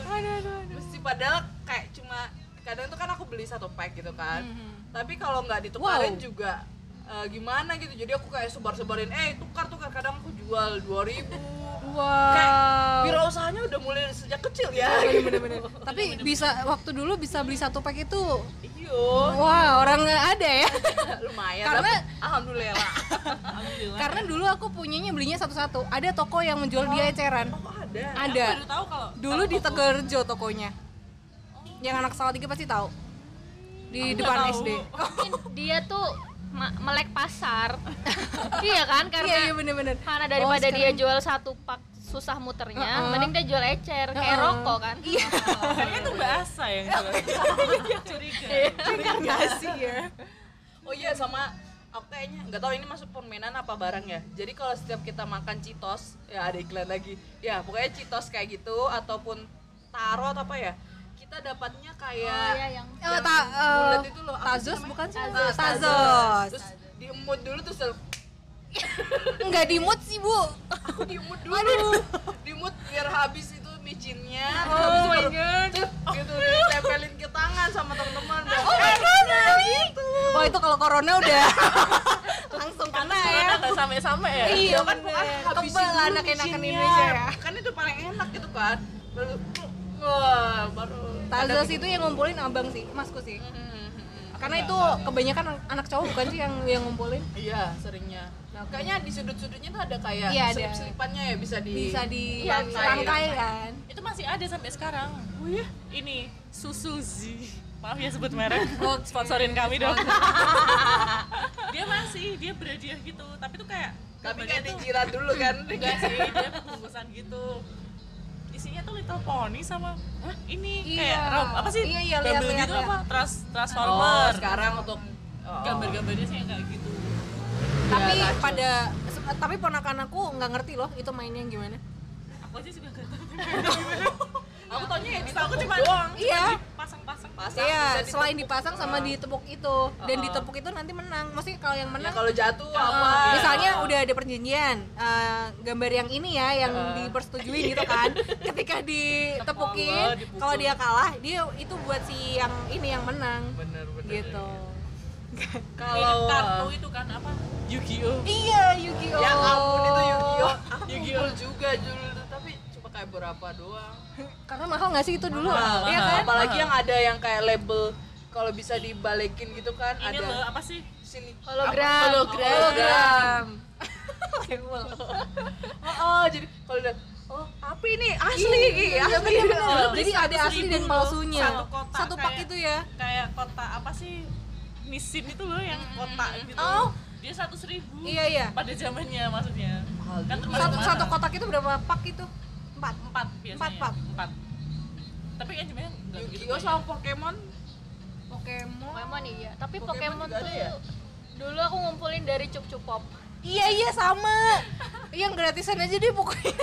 C: aduh aduh aduh
A: mesti padahal kayak cuma kadang tuh kan aku beli satu pack gitu kan
C: Mhm.
A: tapi kalau nggak ditukarin
C: Wow.
A: juga eh, gimana gitu jadi aku kayak sebar-sebarin eh tukar tukar kadang aku jual 2000 ribu
C: wow Iya,
A: wirausahanya udah mulai sejak kecil ya gitu.
C: bener-bener tapi bisa waktu dulu bisa beli satu pack itu
A: iyo
C: wah orang nggak ada ya
A: Iya, lumayan
C: Karena-
A: dapet. alhamdulillah
D: Alhamdulillah.
C: karena dulu aku punyanya belinya satu-satu ada toko yang menjual dia eceran
A: oh ada
D: Aku
C: ada
D: baru tahu kalau
C: dulu di Tegerjo tokonya yang anak Salatiga pasti tahu di depan
D: tahu.
C: SD
B: Ya, Mungkin dia tuh ma- melek
C: <laughs>
B: pasar iya kan karena
C: iya iya bener-bener
B: karena daripada
C: Oh,
B: dia
C: sekarang-
B: jual satu pak susah muternya
C: Uh-uh.
B: mending dia jual ecer kayak
C: Uh-uh.
B: rokok kan
C: iya
D: kayaknya itu bahasa
C: <laughs>
D: yang curiga.
C: Iya, reinkarnasi ya
A: Iya. oh iya sama aku kayaknya nggak tahu ini masuk permainan apa barang ya jadi kalau setiap kita makan citos ya ada iklan lagi ya pokoknya citos kayak gitu ataupun taro atau apa ya kita dapatnya
B: oh iya
A: kayak
B: yang
C: Oh, ta, eh,
A: bulat itu loh, apa sih
C: Tazos
A: namanya?
C: bukan sih?
A: Ah,
C: Tazos.
A: terus diemut dulu terus
C: Enggak dimut sih, Bu.
A: aku diemut dulu diemut biar habis itu micinnya
C: Oh,
A: terus habis itu
C: iya.
A: baru cet, gitu ditempelin ke tangan sama teman-teman
C: Oh my god, Wah, itu kalau corona udah langsung kena ya.
D: Karena nggak sampai-sampai ya.
C: Iya,
A: kan bukan habisin
C: Kebal
A: dulu
C: anak-enakan
A: micinnya.
C: Indonesia ya.
A: kan itu paling enak gitu kan baru wah baru
C: ya, Tazos itu yang ngumpulin abang sih, masku sih. Karena itu kebanyakan an- anak cowok bukan sih yang yang ngumpulin?
A: iya seringnya
C: Nah,
A: kayaknya di sudut-sudutnya tuh ada kayak
C: Iya, ada.
A: selip-selipannya ya bisa di
C: Bisa di
A: Iya, bisa di-
C: rangkai kan.
D: Itu masih ada sampai sekarang. Oh iya. Ini Susuzi. Maaf ya sebut merek. Sponsorin kami dong. dia masih, dia berhadiah gitu. Tapi tuh kayak
A: tapi
D: gambarnya
A: kayak
D: tuh
A: dijilat dulu <laughs> kan
D: enggak sih, dia bungkusan gitu. Isinya tuh Little Pony sama Hah, ini kayak
C: Iya.
D: rom- apa sih?
C: Iya, iya, lihat,
D: Bumblebee
C: lihat,
D: itu
C: lihat.
D: apa? Trans
A: oh
D: Transformer.
A: sekarang untuk oh.
D: Gambar-gambarnya sih yang kayak gitu.
C: Tapi
A: Iya, tazos.
C: pada se- tapi ponakan aku nggak ngerti loh itu mainnya yang gimana.
D: Aku aja juga gak tahu. <laughs>
A: aku taunya ya di
D: Tahu aku
A: toko
D: cuma
A: doang
C: Iya.
D: pasang-pasang.
A: pasang
C: Iya,
A: bisa
C: selain
A: ditepuk.
C: dipasang sama ditepuk itu dan
A: Uh-uh.
C: ditepuk itu nanti menang. Maksudnya Iya, kalau yang
A: Ya,
C: menang
A: kalau jatuh apa
C: Uh, misalnya udah ada perjanjian eh, gambar yang ini ya yang
A: Uh.
C: dipersetujui gitu <laughs> kan ketika
A: Tepuk,
C: ditepukin
A: dipukul.
C: kalau dia kalah dia itu buat si yang ini yang menang
A: bener bener
C: gitu
A: kalau eh,
D: Mirip kartu itu kan apa? Yu-Gi-Oh.
C: iya Yu-Gi-Oh
A: ya ampun itu Yu-Gi-Oh aku
D: Yu-Gi-Oh.
A: ngumpul juga dulu tuh, tapi cuma kayak berapa doang
C: karena mahal nggak sih itu dulu
A: Mahal,
C: Iya
A: mahal.
C: kan
A: Ah, apalagi yang ada yang kayak label kalau bisa dibalikin gitu kan
D: Ini
A: ada
D: loh apa sih?
A: sini
B: hologram
A: hologram
C: hologram
A: oh, oh, jadi kalau udah oh apa ini asli
C: Iya,
A: asli
C: bener-bener.
A: Oh,
D: beli
C: jadi ada
D: seratus
C: asli
D: ribu
C: dan
D: loh,
C: palsunya
D: satu kotak
C: pak
D: kayak-
C: itu ya
D: Kayak kota apa sih? Nisin itu loh yang kotak gitu.
C: Oh.
D: Dia seratus ribu.
C: iya iya
D: Pada zamannya maksudnya.
A: Mahal
D: Kan
A: juga.
D: termasuk
C: satu
D: mahal.
C: satu kotak itu berapa pak itu empat
D: empat biasanya.
C: Empat, empat.
D: Empat. Tapi kan sebenarnya nggak begitu
A: Yu-Gi-Oh sama Pokemon
C: Pokemon
B: Pokemon iya tapi
A: Pokemon
B: Pokemon,
A: juga
B: tuh
A: ada ya?
B: dulu aku ngumpulin dari cup-cup pop
C: Iya iya sama. Yang gratisan aja deh pokoknya.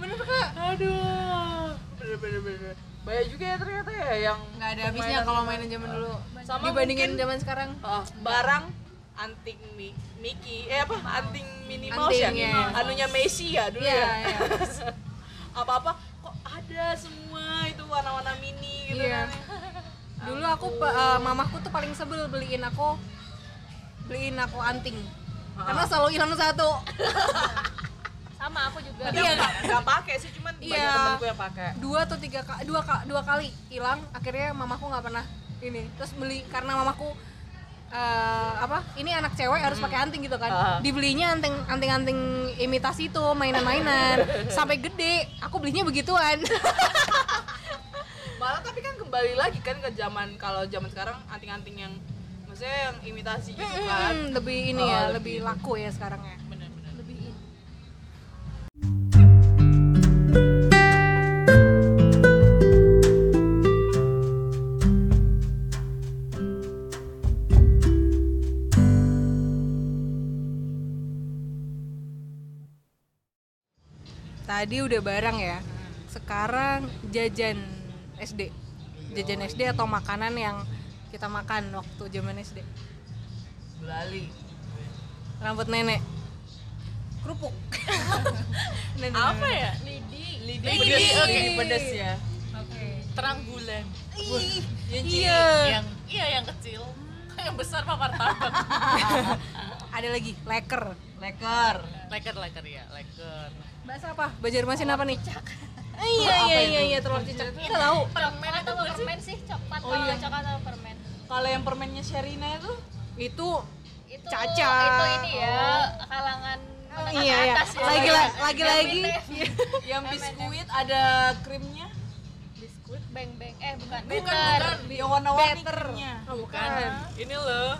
C: Bener kak?
A: aduh bener bener bener kan? banyak juga ya ternyata ya yang
C: Gak ada habisnya
A: permainan-
C: kalau mainan zaman dulu.
A: Sama
C: Dibandingin
A: mungkin-
C: zaman sekarang.
A: Oh, barang anting mi Mickey eh apa anting Minnie Mouse ya
C: Antingnya.
A: anunya Messi ya dulu
C: Iya
A: ya
C: iya.
A: apa apa kok ada semua itu warna-warna mini gitu kan
C: Iya. Dulu aku pa- eh, mamahku tuh paling sebel beliin aku beliin aku anting. Karena selalu hilang satu.
B: sama aku juga
A: tapi aku nggak nggak pakai sih cuman
C: Iya.
A: banyak temanku yang pakai
C: Dua atau tiga ka- dua ka- dua kali hilang. Akhirnya mamahku nggak pernah ini. Terus beli karena mamahku eh, apa ini anak cewek harus pakai anting gitu kan
A: Ah.
C: dibelinya anting anting anting imitasi itu mainan-mainan sampai gede aku belinya begituan <laughs>
A: malah tapi kan kembali lagi kan ke zaman kalau zaman sekarang anting-anting yang maksudnya yang imitasi gitu kan
C: Hmm, lebih
A: Oh,
C: ini ya,
A: lebih
C: lebih
A: ini.
C: laku ya sekarang ya.
D: Benar-benar.
C: Tadi udah barang ya. Sekarang jajan SD. Jajan SD atau makanan yang kita makan waktu zaman SD.
A: Gulali
C: Rambut nenek. <laughs> kerupuk
D: apa ya
B: Lidi.
A: Lidi.
D: Lidi.
A: Pedes, oke
D: Lidi.
A: pedes ya.
B: Oke.
D: terang bulan
C: Ih,
A: Yang
C: iya
D: yang iya yang kecil yang besar papar tabak
C: ada lagi leker
A: Leker.
D: leker leker ya leker
C: bahasa apa Banjarmasin apa nih <laughs> iya iya iya iya telur cicak kita tahu
B: Coklat atau permen sih? Coklat
A: Oh, iya.
B: kalau coklat atau permen.
A: Kalau yang permennya Sherina <laughs> itu
C: itu
B: Itu
C: Caca.
B: itu ini ya kalangan menengah ke
C: iya iya
B: atas ya.
C: lagi
B: Iya.
C: lagi lagi
B: M&M.
A: yang biskuit ada krimnya.
B: Biskuit beng beng eh bukan
D: Bukan,
B: better.
D: bukan.
A: Yang warna-warni
C: Better.
A: krimnya.
C: oh, bukan
D: kan ini loh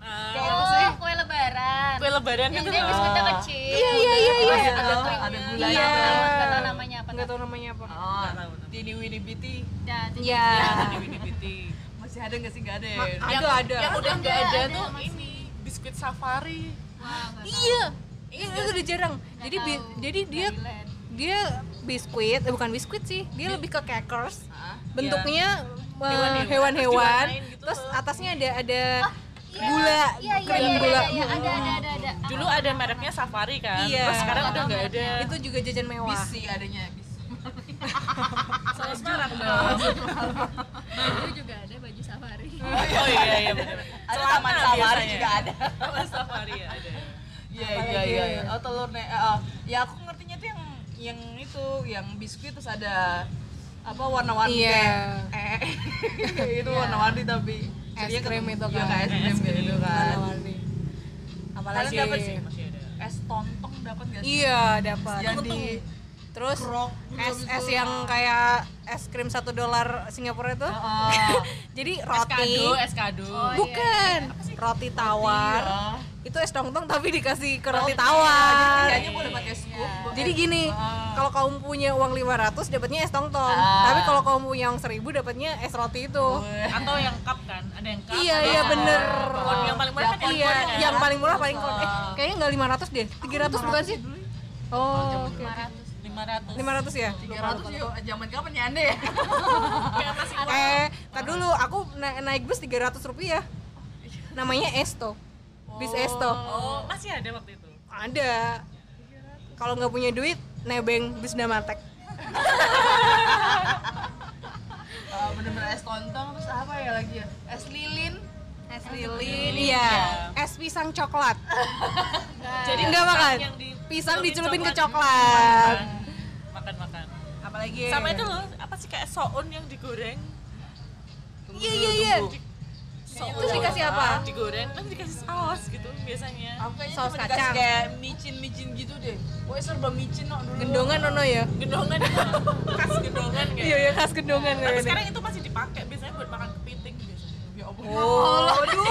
D: Ah,
B: Oh, kue lebaran.
D: kue lebaran
B: Yang gitu.
D: itu
B: dia
D: loh.
B: biskuitnya kecil.
C: iya iya iya
A: Ada
C: iya
B: Ada
A: tahu,
B: krimnya.
A: ada gulanya.
C: Iya.
B: Enggak tahu namanya apa.
C: nggak tahu namanya apa
A: Oh,
D: Nggak tahu.
A: Dini Wini Biti
B: Ya,
C: iya
D: Yang di Winnie-Winnie.
A: masih ada nggak sih? Nggak ada ya.
C: Ma-
D: Yang-
C: ada ada
D: yang udah nggak
B: Ada,
D: ada,
B: ada
D: tuh
B: masih.
D: ini biskuit safari
C: iya Iya, itu udah jarang jadi bi-
B: tahu.
C: jadi dia dia biskuit eh, bukan biskuit sih dia lebih ke crackers
A: Ah,
C: bentuknya eh,
D: Hewan-hewan.
C: hewan-hewan
D: Terus diwarnain gitu
C: terus
D: loh.
C: atasnya ada ada gula
B: Iya, iya,
C: krim
B: iya,
C: gula
B: iya, iya, ada, ada, ada, ada.
D: ya. dulu ada mereknya safari kan
C: Iya.
D: terus sekarang udah nggak ada
C: itu juga jajan mewah
A: Bis sih adanya bis.
D: salah sekarang dong
B: Baju juga ada, baju safari.
D: <laughs> oh iya iya benar
A: Ada taman safari juga ada.
D: taman safari ya ada
A: Iya
C: Apalagi
A: iya iya.
C: ya?
A: iya. Oh telur ne eh, oh. ya aku ngertinya tuh yang yang itu yang biskuit terus ada apa warna-warni
C: Iya.
A: kayak eh <laughs> itu warna-warni tapi
C: Es
A: jadinya
C: krim
A: ketemu-
C: itu
A: iya,
C: kan.
A: kayak es krim gitu kan.
C: Warna-warni.
A: Kalian
C: apalagi
A: dapat sih
D: masih ada
A: es tontong dapat nggak sih?
C: iya dapat
A: Jadi
C: terus
A: krok,
C: es
A: gitu.
C: es yang kayak es krim satu dolar Singapura itu
A: Oh, Heeh.
C: <laughs> jadi
D: es
C: roti
D: kado es kado
B: Oh, iya.
C: bukan roti tawar
A: Iya.
C: itu es tongtong tapi dikasih ke roti
A: Oh,
C: tawar
A: Kayaknya boleh pakai
D: Iya.
A: scoop.
C: jadi gini
D: Ah.
C: kalau kamu punya uang 500 dapatnya es tongtong
A: Ah.
C: tapi kalau kamu punya uang 1000 dapatnya es roti itu
D: atau yang cup kan ada yang cup
C: Iya,
D: ada
C: iya,
D: yang
C: bener.
D: pohon. yang paling murah kan yang
C: iya
D: pohon kan?
C: yang paling murah paling kon- eh kayaknya nggak 500 deh 300 bukan sih
D: ya.
C: oh oke
B: 500.
D: 500
C: 500 ya
A: 300 yuk zaman kapan ya Anda ya?
D: Kayak masih
C: eh
D: Ah.
C: tar dulu aku na- naik bus 300 rupiah namanya esto bis esto
D: oh masih ada waktu itu
C: ada kalau nggak punya duit nebeng bis damatek
A: <laughs> Eh, bener-bener es tontong terus apa ya lagi ya? Es lilin.
C: es lilin iya es pisang coklat
D: jadi
C: Nggak
D: pisang
C: makan.
D: yang di-
C: Pisang dicelupin ke coklat.
D: makan makan
A: Iya.
C: apalagi
D: sama itu loh apa sih kayak soun yang digoreng
C: iya iya iya
D: soun
C: Terus dikasih apa?
D: digoreng terus dikasih saus gitu biasanya
A: Aku kayaknya
C: Saus
A: cuma dikasih
C: kacang.
A: kayak micin-micin gitu deh. Pokoknya serba micin no, dulu.
C: gendongan nono ya
D: gendongan
C: <laughs>
D: itu khas gendongan kayak
C: iya iya khas gendongan
D: tapi
C: kayaknya.
D: sekarang itu masih dipakai biasanya buat makan kepiting biasanya
A: Ya ampun.
C: oh aduh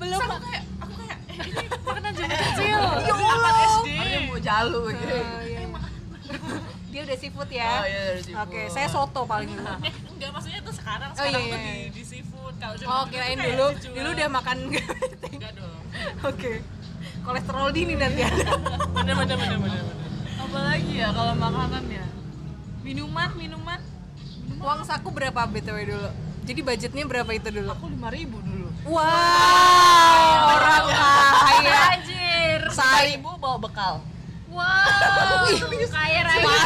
C: belum
D: Terus aku kayak aku kayak eh, ini makanan zaman kecil dulu
C: Allah.
D: makan SD
A: Ada yang mau jalu gitu.
C: Oh, iya. <laughs> dia udah seafood Iya.
A: Oh
C: ya
A: iya dari situ.
C: oke saya soto paling dulu
D: eh enggak maksudnya tuh sekarang
C: Oh, iya,
D: sekarang tuh
C: iya,
D: di di seafood kalau zaman
C: oh
D: tuh
C: kirain
D: kayak
C: dulu
D: dijual.
C: dulu udah makan <laughs>
D: enggak dong
C: oke kolesterol dini nanti ada
D: bener bener bener bener bener.
A: Apa lagi ya kalau makanan ya? Minuman, minuman.
C: uang saku berapa btw dulu jadi budgetnya berapa itu dulu
A: Aku 5000 dulu.
C: Wow, orang kaya.
B: Anjir.
C: Saya
A: 1000 bawa bekal.
B: Wow. Kaya raya.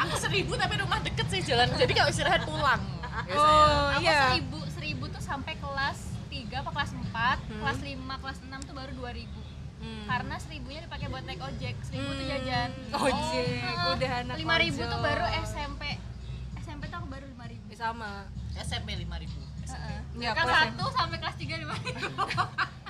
D: aku seribu tapi rumah deket sih jalan jadi kalau istirahat pulang
C: Oh,
B: Aku
C: iya.
B: seribu, seribu tuh sampai kelas 3 apa kelas 4, kelas 5, kelas 6 tuh baru 2000
C: Hmm.
B: Karena seribunya dipakai buat naik ojek, seribu tuh jajan
C: Ojek, udah anak
B: Lima ribu
C: ojol.
B: tuh baru SMP SMP tuh aku baru lima ribu
C: sama.
D: SMP lima ribu
C: Ya,
B: Kelas
C: kelas
B: 1 sampai kelas 3 lima ribu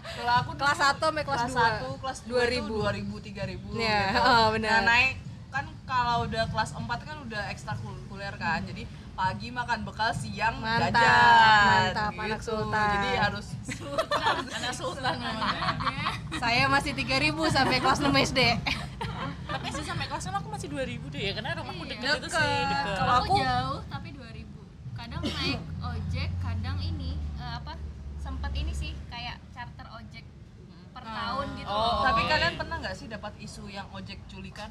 A: Kalau aku dulu-
C: kelas 1 sampai kelas 2.
A: satu, kelas 2
C: 2000.
A: 2000 3000
C: Iya,
A: <laughs> gitu.
C: oh, benar.
A: Nah, naik kan kalau udah kelas 4 kan udah ekstrakurikuler kan. Jadi pagi makan bekal, siang
C: Mantap,
A: jajan.
C: mantap, anak sultan.
A: Jadi <laughs> harus
D: anak sultan namanya
C: Saya masih 3000 sampai kelas 6 SD.
D: tapi sih sampai kelas enam aku masih dua ribu deh ya karena rumahku
B: Iya.
D: deket, itu sih deket
C: Kalau
B: Aku
C: aku-
B: jauh tapi 2000 Kadang naik ojek, kadang ini eh, apa sempet ini sih kayak charter ojek per tahun gitu
D: Oh.
B: loh.
A: Tapi kalian pernah nggak sih dapat isu yang ojek culikan?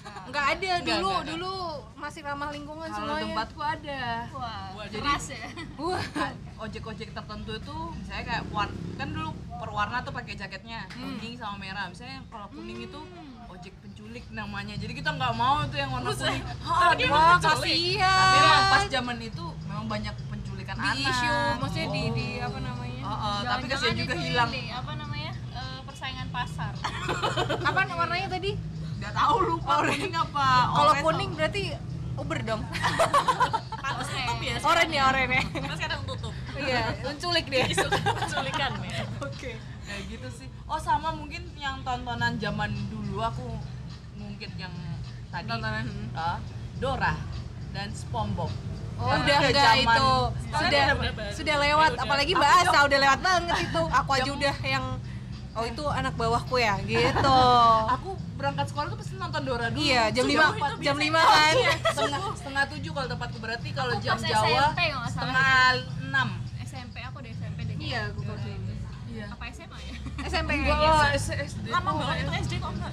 C: Enggak ada dulu, dulu masih ramah lingkungan
A: Kalau
C: semuanya.
A: tempatku ada.
B: Wah,
D: Wah, jadi-
B: keras ya
A: <laughs>
C: Wah,
A: ojek-ojek tertentu itu misalnya kayak one kan dulu perwarna tuh pakai jaketnya kuning sama merah misalnya yang kalau kuning itu ojek penculik namanya jadi kita nggak mau tuh yang warna kuning
D: Tapi dia emang
A: Wah,
D: penculik.
A: kasihan. tapi emang pas zaman itu memang banyak penculikan
C: iya. di
A: anak
C: isu maksudnya di di apa namanya
A: Oh, oh, tapi kasihan
B: Jangan-jangan
A: juga
B: itu
A: hilang
B: ini, apa namanya eh, persaingan pasar
C: apa warnanya tadi
A: nggak tahu lupa Oh, kuning apa
C: kalau
A: Orange
C: kuning berarti uber dong
D: Terus
B: <laughs>
D: tutup ya,
C: oren ya oren ya
D: terus kadang tutup.
C: iya menculik dia
D: Isu penculikan ya.
C: oke
A: kayak gitu sih oh sama mungkin yang tontonan zaman dulu aku ngungkit yang tadi
C: Tontonan. hmm.
A: Ah, Dora dan SpongeBob
C: Oh,
A: Karena
C: udah
A: udah
C: enggak
A: zaman-
C: itu
D: sekarang
C: sudah
D: udah berubah.
C: sudah lewat
D: Udah.
C: apalagi
A: Aku
C: Mbak
A: juga-
C: Asa udah lewat banget itu aku aja
A: Jam-
C: udah yang oh itu anak bawahku ya gitu
A: aku berangkat sekolah tuh pasti nonton Dora dulu
C: iya jam
A: Sudah
C: lima
A: empat,
C: jam lima kan <laughs>
A: setengah setengah tujuh kalau tempatku berarti kalau
B: Aku
A: jam
B: pas
A: Jawa
B: SMP kalau nggak salah.
A: setengah enam
B: SMP aku udah SMP deh
C: iya aku
B: Dora.
C: kursi ini.
A: iya
B: apa SMA ya
C: SMP
A: enggak
C: kayaknya
A: lah SD
D: Lama banget itu SD kok enggak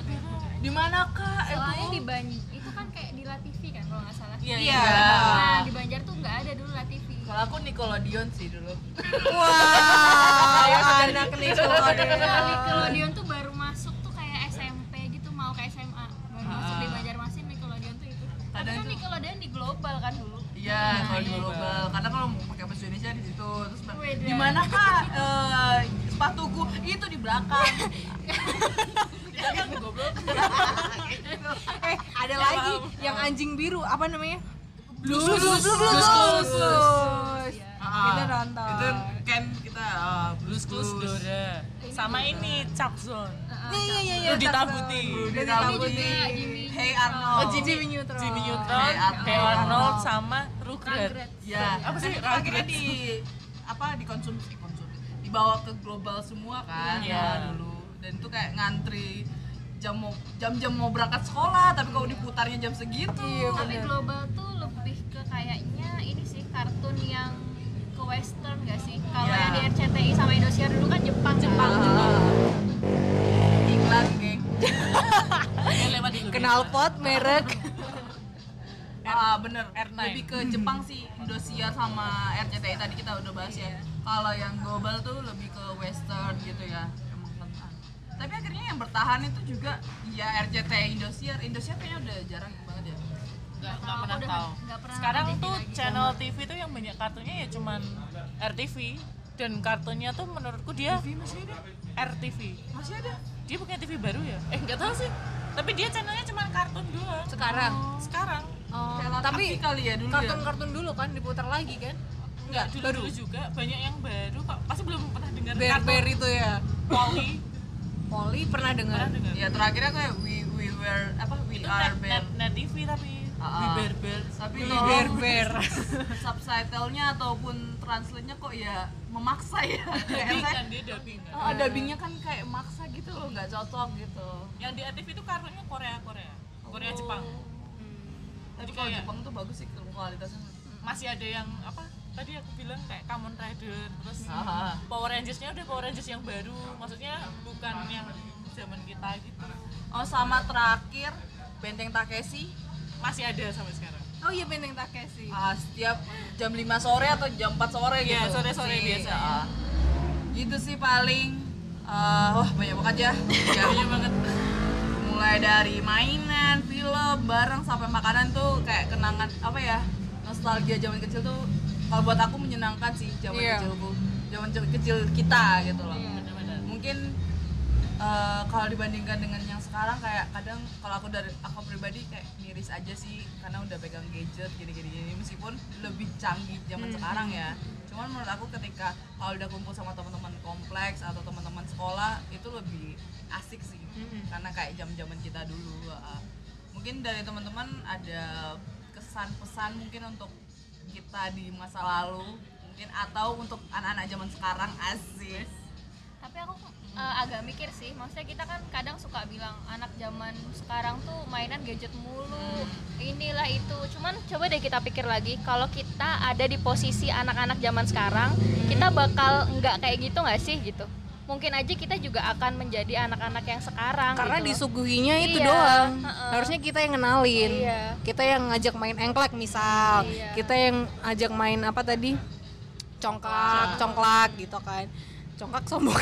A: di mana kak Eh,
B: soalnya di Banjar itu kan kayak di Latifi kan kalau nggak salah
D: Iya,
C: iya.
B: nah di Banjar tuh nggak ada dulu Latifi
A: kalau aku Nickelodeon sih dulu <laughs>
C: wow anak nih
A: ya.
B: Kalau
C: soalnya
B: Nickelodeon tuh baru masuk tuh kayak SMP gitu mau ke SMA baru masuk di Banjarmasin Nickelodeon tuh itu tapi
A: Kadang
B: kan
A: Ah. tuh-
B: Nickelodeon di global kan dulu
A: <laughs> Iya,
B: Nah,
A: kalau di
B: iya.
A: global. Karena kalau mau pakai bahasa Indonesia di situ terus
B: Weda.
A: di mana kak eh, sepatuku itu di belakang. Di belakang, goblok.
C: eh ada lagi yang anjing biru apa namanya
A: Blus.
C: Blus, blus, blus,
A: Blus,
C: blus.
A: Ah,
C: Itu nonton.
A: Itu
D: kan
A: Ken kita ah, blues blues.
D: Dora. Sama ini Chuck Zone.
C: Iya, <laughs> iya, iya, iya,
D: Rudy
C: Tarzan.
D: Tabuti.
A: Rudy
C: Rudy
A: Tabuti.
C: Tabuti.
A: Hey Arnold.
C: Oh, Jimmy Neutron.
D: Jimmy Neutron,
A: Hey Arnold.
D: Hey Arnold sama Rugrat.
A: Ya,
D: Apa sih?
A: Kan akhirnya di apa dikonsumsi konsumsi dibawa ke global semua kan
D: Iya.
A: ya dulu dan itu kayak ngantri jam mau jam-jam mau berangkat sekolah tapi kalau diputarnya jam segitu
C: Iya,
B: tapi
C: bener.
B: global tuh lebih ke kayaknya ini sih kartun yang ke western gak sih kalau
A: Iya.
B: yang di
C: Ya.
B: RCTI sama Indosiar dulu kan Jepang Jepang
A: Ah. iklan geng
D: Yang lewat di Google.
C: kenal pot merek
A: ah bener
D: R9.
A: lebih ke Jepang sih Indosiar sama RCTI tadi kita udah bahas ya kalau yang global tuh lebih ke western gitu ya emang rentan. tapi akhirnya yang bertahan itu juga ya RCTI Indosiar Indosiar kayaknya udah jarang banget ya
D: Nggak
B: Nggak
D: nggak
B: tahu,
D: pernah
B: aku udah
D: tahu.
B: nggak pernah
D: Sekarang
B: nonton
D: tuh
B: TV lagi.
D: channel TV tuh yang banyak kartunya ya cuman RTV dan kartunya tuh menurutku dia
A: TV masih ada
D: RTV.
A: masih ada
D: Dia punya TV baru ya? Eh nggak tahu sih. Tapi dia channelnya cuman kartun doang. Oh,
C: sekarang
D: Sekarang
A: Kayak
C: tapi
A: Latif kali ya dulu ya
C: kartun-kartun dulu kan diputar lagi kan
D: nggak dulu, dulu juga banyak yang baru kok. Pasti belum pernah dengar
C: ber itu ya
D: Polly.
C: Poli pernah dengar
D: Pernah dengar?
A: ya terakhirnya kayak we we were apa we
D: Itu
A: are
D: net, net,
A: band
D: net TV tapi
A: Ah.
D: We Bear Bear.
A: tapi
C: ber
A: tolong
D: <laughs>
C: ber
A: <laughs> subtitlenya ataupun translate-nya kok ya memaksa ya
D: Dubbing
A: Kayak
D: kan dia dubbing kan.
A: Oh, dubbingnya kan kayak maksa gitu loh, nggak cocok gitu.
D: Yang di RTV itu kartunya Korea Korea. Korea Jepang.
A: Tapi
D: Jadi
A: kalau
D: kayak-
A: Jepang tuh bagus sih kualitasnya.
D: Masih ada yang apa? Tadi aku bilang kayak Kamen Rider terus
A: Aha.
D: Power Rangers-nya udah Power Rangers yang baru. Maksudnya bukan yang zaman kita gitu.
A: Oh sama terakhir Benteng Takeshi
D: Masih ada sampai sekarang.
C: oh iya benteng Takeshi
A: ah, setiap jam 5 sore atau jam 4 sore gitu.
D: Iya, sore-sore
A: Masih,
D: biasa.
A: ah. gitu sih paling eh, wah banyak banget <laughs> ya. Ya,
D: Banyak banget.
A: mulai dari mainan, film, barang sampai makanan tuh kayak kenangan apa ya? Nostalgia zaman kecil tuh kalau buat aku menyenangkan sih zaman
C: Iya.
A: kecilku. Zaman kecil kita gitu loh.
D: Benar-benar.
A: mungkin eh, kalau dibandingkan dengan yang sekarang kayak kadang kalau aku dari aku pribadi kayak miris aja sih karena udah pegang gadget gini-gini gini meskipun lebih canggih zaman sekarang ya cuman menurut aku ketika kalau udah kumpul sama teman-teman kompleks atau teman-teman sekolah itu lebih asik sih karena kayak jam-jaman kita dulu eh. mungkin dari teman-teman ada kesan pesan mungkin untuk kita di masa lalu mungkin atau untuk anak-anak zaman sekarang asik
B: tapi aku eh, agak mikir sih maksudnya kita kan kadang suka bilang anak zaman sekarang tuh mainan gadget mulu inilah itu cuman coba deh kita pikir lagi kalau kita ada di posisi anak-anak zaman sekarang
C: Hmm.
B: kita bakal nggak kayak gitu nggak sih gitu mungkin aja kita juga akan menjadi anak-anak yang sekarang
C: karena
B: gitu loh.
C: disuguhinya itu
B: Iya,
C: doang
B: heeh.
C: harusnya kita yang kenalin
B: Iya.
C: kita yang ngajak main engklek misal
B: Iya.
C: kita yang ajak main apa tadi congklak congklak gitu kan congkak sombong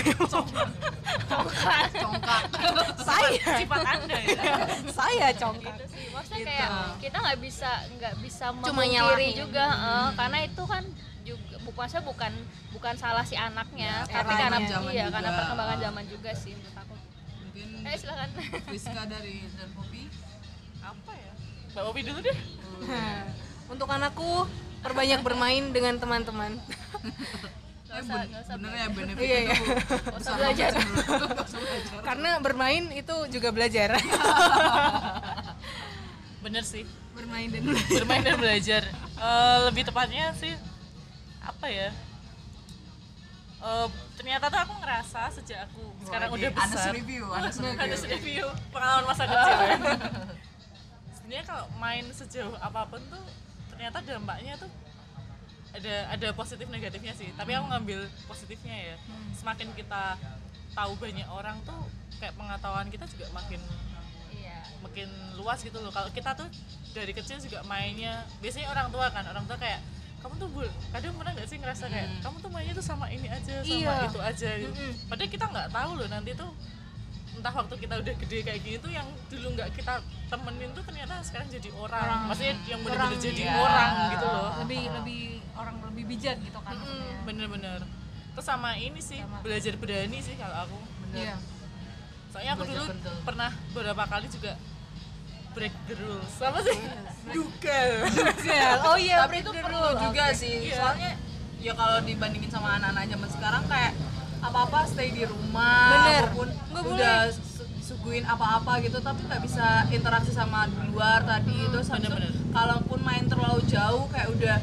A: congkak
B: <laughs>
C: saya
D: sifat anda ya
C: saya congkak
B: gitu sih maksudnya kayak kita nggak bisa nggak bisa
C: Cuma
B: memungkiri
C: nyalahin.
B: juga eh, karena itu kan juga bu- maksudnya bukan bukan salah si anaknya tapi
C: eranya.
B: karena
E: Zaman
B: iya
E: juga.
B: karena perkembangan
E: Ah.
B: zaman juga sih menurut aku
E: mungkin
B: eh silakan
E: Rizka dari dan Poppy
D: apa ya mbak Opi dulu deh
C: Nah, untuk anakku perbanyak
B: <laughs>
C: bermain dengan teman-teman
E: eh, ben- bener ya benefit
C: Iya, iya.
E: itu besar belajar belajar
C: karena bermain itu juga belajar
D: bener sih
C: bermain dan belajar
D: bermain dan belajar Eh, lebih tepatnya sih apa ya Eh, ternyata tuh aku ngerasa sejak aku sekarang udah besar
E: anas review anas
D: harus
E: review
D: review pengalaman masa kecil ya. sebenarnya kalau main sejauh apapun tuh ternyata dampaknya tuh ada ada positif negatifnya sih tapi
E: Hmm.
D: aku ngambil positifnya ya semakin kita tahu banyak orang tuh kayak pengetahuan kita juga makin
B: iya
D: makin luas gitu loh kalau kita tuh dari kecil juga mainnya biasanya orang tua kan orang tua kayak kamu tuh bu kadang pernah nggak sih ngerasa kayak kamu tuh mainnya tuh sama ini aja sama
C: Iya.
D: itu aja gitu
C: Mm-mm.
D: padahal kita nggak tahu loh nanti tuh entah waktu kita udah gede kayak gini tuh yang dulu nggak kita temenin tuh ternyata sekarang jadi orang, maksudnya yang bener-bener jadi
E: iya.
D: orang gitu loh
F: lebih lebih orang lebih bijak gitu kan maksudnya.
D: bener-bener terus sama ini sih belajar berani sih kalau aku
F: Iya.
D: soalnya aku
E: Belajar
D: dulu
E: kendel.
D: pernah beberapa kali juga break the rules apa sih dukel
C: oh iya
A: tapi itu perlu juga sih soalnya ya kalau dibandingin sama anak-anak zaman sekarang kayak apa-apa stay di rumah
C: Bener.
A: maupun
C: Nggak
A: udah su- suguin apa-apa gitu tapi nggak bisa interaksi sama di luar tadi
C: Hmm,
A: terus habis itu
D: bener-bener.
A: kalaupun main terlalu jauh kayak udah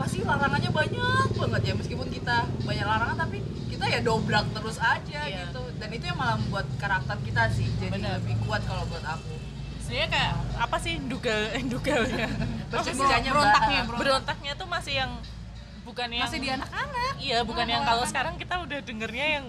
A: pasti larangannya banyak banget ya meskipun kita banyak larangan tapi kita ya dobrak terus aja
D: Iya.
A: gitu dan itu yang malah membuat karakter kita sih jadi
D: Bener.
A: lebih kuat kalau buat aku
D: sebenarnya kayak apa sih dugal eh, dugalnya
A: Berjenjanya, Mbak.
C: berontaknya
D: berontaknya tuh masih yang bukan yang
C: masih di anak-anak
D: iya bukan yang kalau sekarang kita udah dengernya yang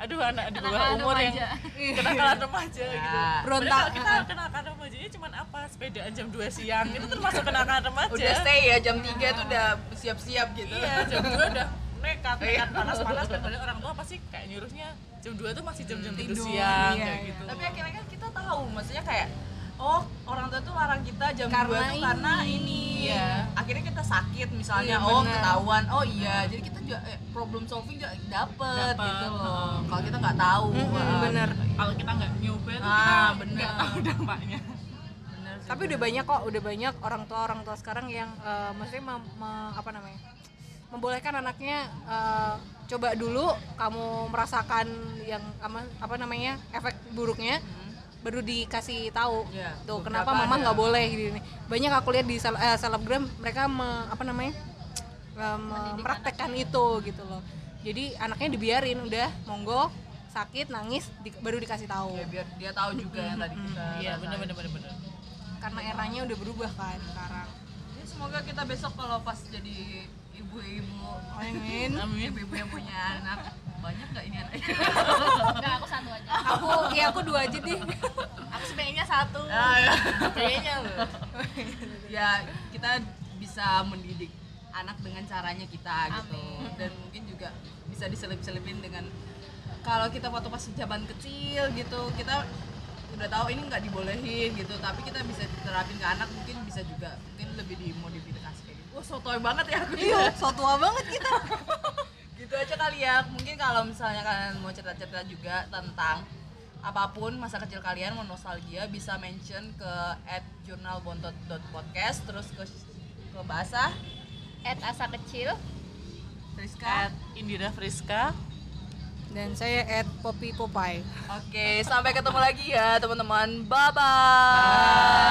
D: aduh anak di bawah
F: Kenakalan
D: umur yang
F: remaja.
D: kenakalan
A: Iya,
D: remaja gitu
C: Nah.
E: Ya.
D: Padahal kalau
C: Berontak,
D: kita kenakalan remajanya cuman apa sepedaan jam 2 siang itu termasuk kenakalan remaja
A: udah stay ya jam 3 itu udah siap-siap gitu
D: iya jam 2 udah nekat nekat panas-panas dan padahal orang tua pasti kayak nyuruhnya jam 2 tuh masih jam-jam tidur
C: Tidur,
D: siang
C: iya,
D: kayak
C: iya.
D: gitu
A: tapi akhirnya kan kita tahu maksudnya kayak oh orang tua tuh larang kita jam 2
C: Karena
A: tuh
C: ini.
A: karena ini
C: Iya.
A: akhirnya kita sakit misalnya
C: Iya,
A: oh
C: benar.
A: ketahuan oh iya jadi kita juga eh, problem solving juga dapet,
D: Dapet,
A: gitu loh kalau kita nggak tahu wah,
C: bener
D: kalau kita nggak nyoba tuh
A: ah
D: kita
A: bener
D: nggak tahu dampaknya
A: bener sih.
C: tapi udah banyak kok udah banyak orang tua orang tua sekarang yang eh, maksudnya mem, me- apa namanya membolehkan anaknya eh, coba dulu kamu merasakan yang ama- apa namanya efek buruknya baru dikasih tahu
A: Iya,
C: tuh
A: beberapa
C: kenapa
A: ada.
C: mama nggak boleh gini gini. banyak aku lihat di sel- eh, selebgram mereka me- apa namanya eh, me- mempraktekkan itu gitu loh jadi anaknya dibiarin udah monggo sakit nangis di- baru dikasih tahu
A: ya, biar dia tahu juga yang tadi kita
D: iya
A: rasain.
D: bener-bener bener-bener
C: karena eranya udah berubah kan sekarang
A: Ya, semoga kita besok kalau pas jadi ibu-ibu
C: Amin.
D: amin
A: ibu-ibu yang punya anak banyak nggak ini anaknya
B: enggak aku satu aja
C: aku ya aku dua aja deh
D: aku sepengennya satu
A: Ah, ya.
D: kayaknya loh
A: <laughs> ya kita bisa mendidik anak dengan caranya kita gitu dan mungkin juga bisa diselip-selipin dengan kalau kita waktu pas zaman kecil gitu kita udah tahu ini nggak dibolehin gitu tapi kita bisa terapin ke anak mungkin bisa juga mungkin lebih dimodifikasi kayak gitu wah sotoy banget ya aku
C: iya so tua banget kita
A: gitu aja kali ya mungkin kalau misalnya kalian mau cerita-cerita juga tentang apapun masa kecil kalian mau nostalgia bisa mention ke at jurnalbontot.podcast terus ke ke bahasa
B: Ed asa kecil
A: Friska
D: Kat Indira Friska
C: dan saya at Poppy Popeye
A: oke sampai ketemu lagi ya teman-teman bye bye